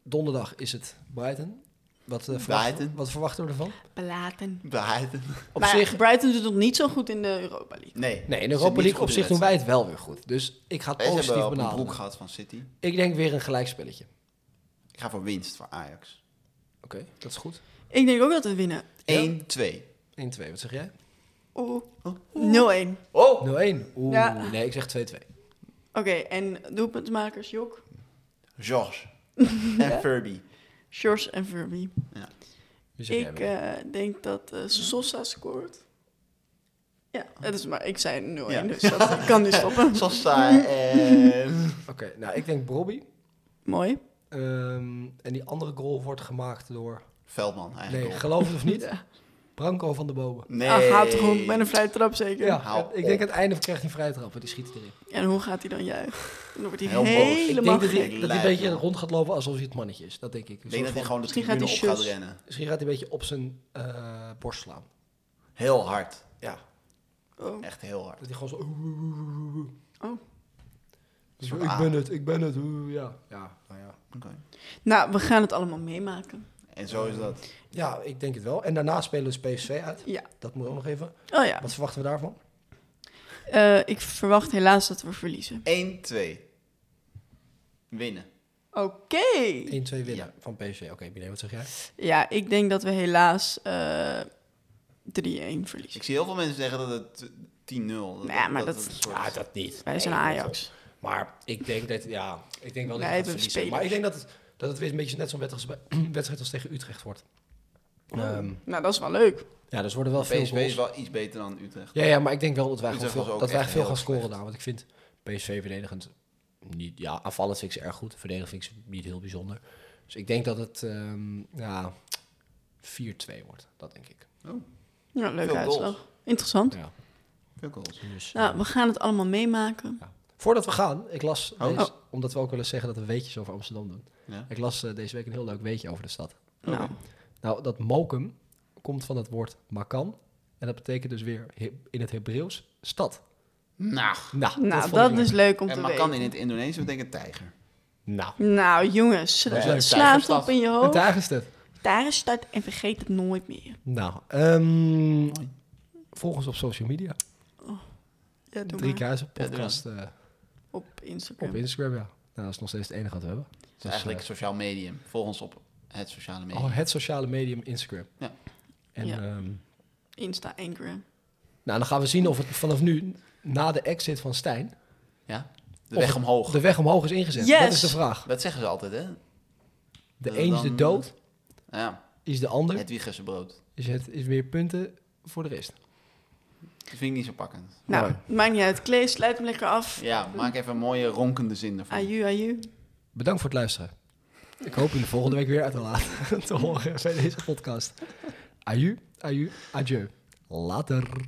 Speaker 5: Donderdag is het Brighton. Wat, eh, verwachten-
Speaker 3: Brighton.
Speaker 5: wat verwachten we ervan?
Speaker 2: Belaten.
Speaker 3: Behaarden.
Speaker 5: Op
Speaker 2: maar
Speaker 5: zich,
Speaker 2: Brighton doet het nog niet zo goed in de Europa League.
Speaker 3: Nee.
Speaker 5: nee, in
Speaker 3: Ze
Speaker 5: Europa
Speaker 3: niet
Speaker 5: League
Speaker 3: goed
Speaker 5: op
Speaker 3: in
Speaker 5: zich
Speaker 3: de
Speaker 5: doen wij het wel weer goed. Dus ik ga het
Speaker 3: wedstrijd. Wij hebben
Speaker 5: positief
Speaker 3: op een broek
Speaker 5: benaderen.
Speaker 3: gehad van City.
Speaker 5: Ik denk weer een gelijkspelletje.
Speaker 3: Ik ga voor winst voor Ajax.
Speaker 5: Oké, dat is goed.
Speaker 2: Ik denk ook dat we winnen.
Speaker 3: 1-2.
Speaker 5: 1-2, wat zeg jij?
Speaker 2: Oeh.
Speaker 3: Oh.
Speaker 2: 0-1.
Speaker 5: 0-1. Oeh,
Speaker 2: Ja.
Speaker 5: nee, ik zeg 2-2.
Speaker 2: Oké, en doelpuntmakers Jok,
Speaker 3: George. en Furby.
Speaker 2: Sjors en Verby.
Speaker 5: Wie zeg jij,
Speaker 2: Ik
Speaker 5: Willem?
Speaker 2: eh, denk dat eh, Sosa scoort. Ja, dat is maar. Ik zei 0-1,
Speaker 3: Ja.
Speaker 2: dus dat ik kan nu
Speaker 5: *laughs*
Speaker 2: stoppen.
Speaker 3: Sosa en...
Speaker 5: Oké, nou, ik denk Bobby.
Speaker 2: Mooi.
Speaker 5: Ehm, en die andere goal wordt gemaakt door...
Speaker 3: Veldman eigenlijk.
Speaker 5: Nee,
Speaker 3: ook.
Speaker 5: geloof het of niet,
Speaker 2: *laughs* Ja.
Speaker 5: Branco van de Bomen.
Speaker 3: Nee.
Speaker 2: Ah, gaat Ah, toch om met een vrije trap zeker?
Speaker 5: Ja,
Speaker 3: Hou
Speaker 5: het- ik
Speaker 3: op.
Speaker 5: denk aan het einde krijgt hij vrij trappen, die schiet hij erin.
Speaker 2: En hoe gaat hij dan juichen? Dan wordt hij
Speaker 3: Heel boos.
Speaker 5: Ik
Speaker 2: helemaal
Speaker 5: denk dat hij, dat
Speaker 3: gek.
Speaker 5: hij een
Speaker 3: Lijp,
Speaker 5: beetje
Speaker 3: man.
Speaker 5: rond gaat lopen alsof hij het mannetje is. Dat denk ik. Een
Speaker 3: Ik
Speaker 5: soort
Speaker 3: denk dat hij
Speaker 5: van-
Speaker 3: gewoon de
Speaker 2: Misschien gaat
Speaker 3: tribune op
Speaker 2: hij
Speaker 3: gaat
Speaker 2: shoes.
Speaker 3: rennen.
Speaker 5: Misschien gaat hij een beetje op zijn eh, borst slaan.
Speaker 3: Heel hard.
Speaker 5: Ja.
Speaker 2: gek. Oh.
Speaker 3: Echt heel hard.
Speaker 5: Dat hij gewoon zo... oeh, oeh, oeh, oeh, oeh.
Speaker 2: Oh.
Speaker 5: Dus
Speaker 3: Soort
Speaker 5: ik
Speaker 3: aap.
Speaker 5: ben het, ik ben het. oeh, ja. ja, nou ja.
Speaker 3: Oké.
Speaker 2: Nou, we gaan het allemaal meemaken.
Speaker 3: En zo is dat.
Speaker 5: Ja, ik denk het wel. En daarna spelen we PSV uit.
Speaker 2: Ja.
Speaker 5: Dat moet ook nog even.
Speaker 2: Oh ja.
Speaker 5: Wat verwachten we daarvan?
Speaker 2: Eh, ik verwacht helaas dat we verliezen.
Speaker 3: 1-2. Winnen.
Speaker 2: Oké.
Speaker 5: 1-2 winnen van PSV. Oké, Binet, wat zeg jij?
Speaker 2: Ja, ik denk dat we helaas eh 3-1 verliezen.
Speaker 3: Ik zie heel veel mensen zeggen dat het 10-0. Nee,
Speaker 2: Ja, maar dat-
Speaker 3: het een soort-
Speaker 5: dat niet.
Speaker 2: Wij zijn Ajax.
Speaker 5: Maar ik denk dat, ja, ik denk wel dat hij gaat
Speaker 2: Wij hebben
Speaker 5: verliezen.
Speaker 2: spelers.
Speaker 5: Maar ik denk dat het, dat het weer een beetje net zo'n wedstrijd als, bij- *clears throat* wedstrijd als tegen Utrecht wordt. Ehm,
Speaker 2: Nou, dat is wel leuk.
Speaker 5: ja, dus worden wel veel
Speaker 3: PSV
Speaker 5: goals.
Speaker 3: is wel iets beter dan Utrecht.
Speaker 5: Ja, ja, maar ik denk wel dat wij,
Speaker 3: Utrecht
Speaker 5: gewoon veel,
Speaker 3: was ook
Speaker 5: dat wij
Speaker 3: echt
Speaker 5: veel
Speaker 3: heel
Speaker 5: gaan scoren
Speaker 3: slecht.
Speaker 5: daar. Want ik vind PSV verdedigend niet... Ja, aanvallend vind ik ze erg goed. Verdedigend vind ik ze niet heel bijzonder. Dus ik denk dat het ehm, ja, 4-2 wordt. Dat denk ik.
Speaker 2: Ja, leuk
Speaker 3: Veel goals.
Speaker 2: uitslag. Interessant.
Speaker 5: Ja,
Speaker 3: Veel goals.
Speaker 5: dus,
Speaker 2: Nou,
Speaker 5: eh,
Speaker 2: we gaan het allemaal meemaken.
Speaker 5: ja. Voordat we gaan, ik las...
Speaker 3: Oh.
Speaker 5: deze- omdat we ook willen zeggen dat we weetjes over Amsterdam doen.
Speaker 3: Ja.
Speaker 5: Ik las eh, deze week een heel leuk weetje over de stad.
Speaker 2: Nou,
Speaker 5: Nou, dat mokum komt van het woord makan. En dat betekent dus weer he- in het Hebreeuws stad.
Speaker 3: Nou,
Speaker 5: Nou,
Speaker 2: nou
Speaker 5: vond ik
Speaker 2: dat
Speaker 5: leuk.
Speaker 2: is leuk om te
Speaker 3: en makan in
Speaker 2: weten.
Speaker 3: het Indonesisch betekent tijger.
Speaker 5: Nou,
Speaker 2: Nou, jongens,
Speaker 5: Dat is leuk.
Speaker 2: slaat
Speaker 3: Tijgerstad.
Speaker 2: op in je
Speaker 5: en
Speaker 2: hoofd.
Speaker 5: daar is het.
Speaker 2: Daar is start en vergeet het nooit meer.
Speaker 5: Nou, ehm volg ons op social media.
Speaker 2: Ja, doe
Speaker 5: Drie
Speaker 2: maar.
Speaker 5: Kruisen
Speaker 3: doe
Speaker 5: podcast eh,
Speaker 2: Op Instagram.
Speaker 5: op Instagram, ja. Nou, dat is nog steeds het enige wat we hebben.
Speaker 3: Dat is
Speaker 5: Dus,
Speaker 3: eigenlijk
Speaker 5: eh,
Speaker 3: sociaal medium. Volg ons op het sociale medium.
Speaker 5: oh, het sociale medium Instagram.
Speaker 3: Ja.
Speaker 5: En
Speaker 2: Ja.
Speaker 5: ehm,
Speaker 2: Insta, Instagram.
Speaker 5: nou, dan gaan we zien of het vanaf nu, na de exit van Stijn,
Speaker 3: Ja? De
Speaker 5: Of
Speaker 3: weg
Speaker 5: het-
Speaker 3: omhoog.
Speaker 5: de weg omhoog is ingezet.
Speaker 2: Yes!
Speaker 5: Dat is de vraag.
Speaker 3: Dat zeggen ze altijd, hè?
Speaker 5: De
Speaker 3: Eh,
Speaker 5: een is de
Speaker 3: dan-
Speaker 5: dood,
Speaker 3: Ja,
Speaker 5: is de ander.
Speaker 3: het Wiegerse brood.
Speaker 5: Is het is meer punten voor de rest.
Speaker 3: Dat vind ik niet zo pakkend.
Speaker 2: Nou,
Speaker 5: Mooi.
Speaker 2: maakt niet uit. Klees, sluit hem lekker af.
Speaker 3: Ja, maak even een mooie ronkende zin ervan.
Speaker 2: Aju, aju.
Speaker 5: Bedankt voor het luisteren. Ik hoop jullie volgende week weer uit te laten *laughs* te horen bij deze podcast. Aju, aju, adieu. Later.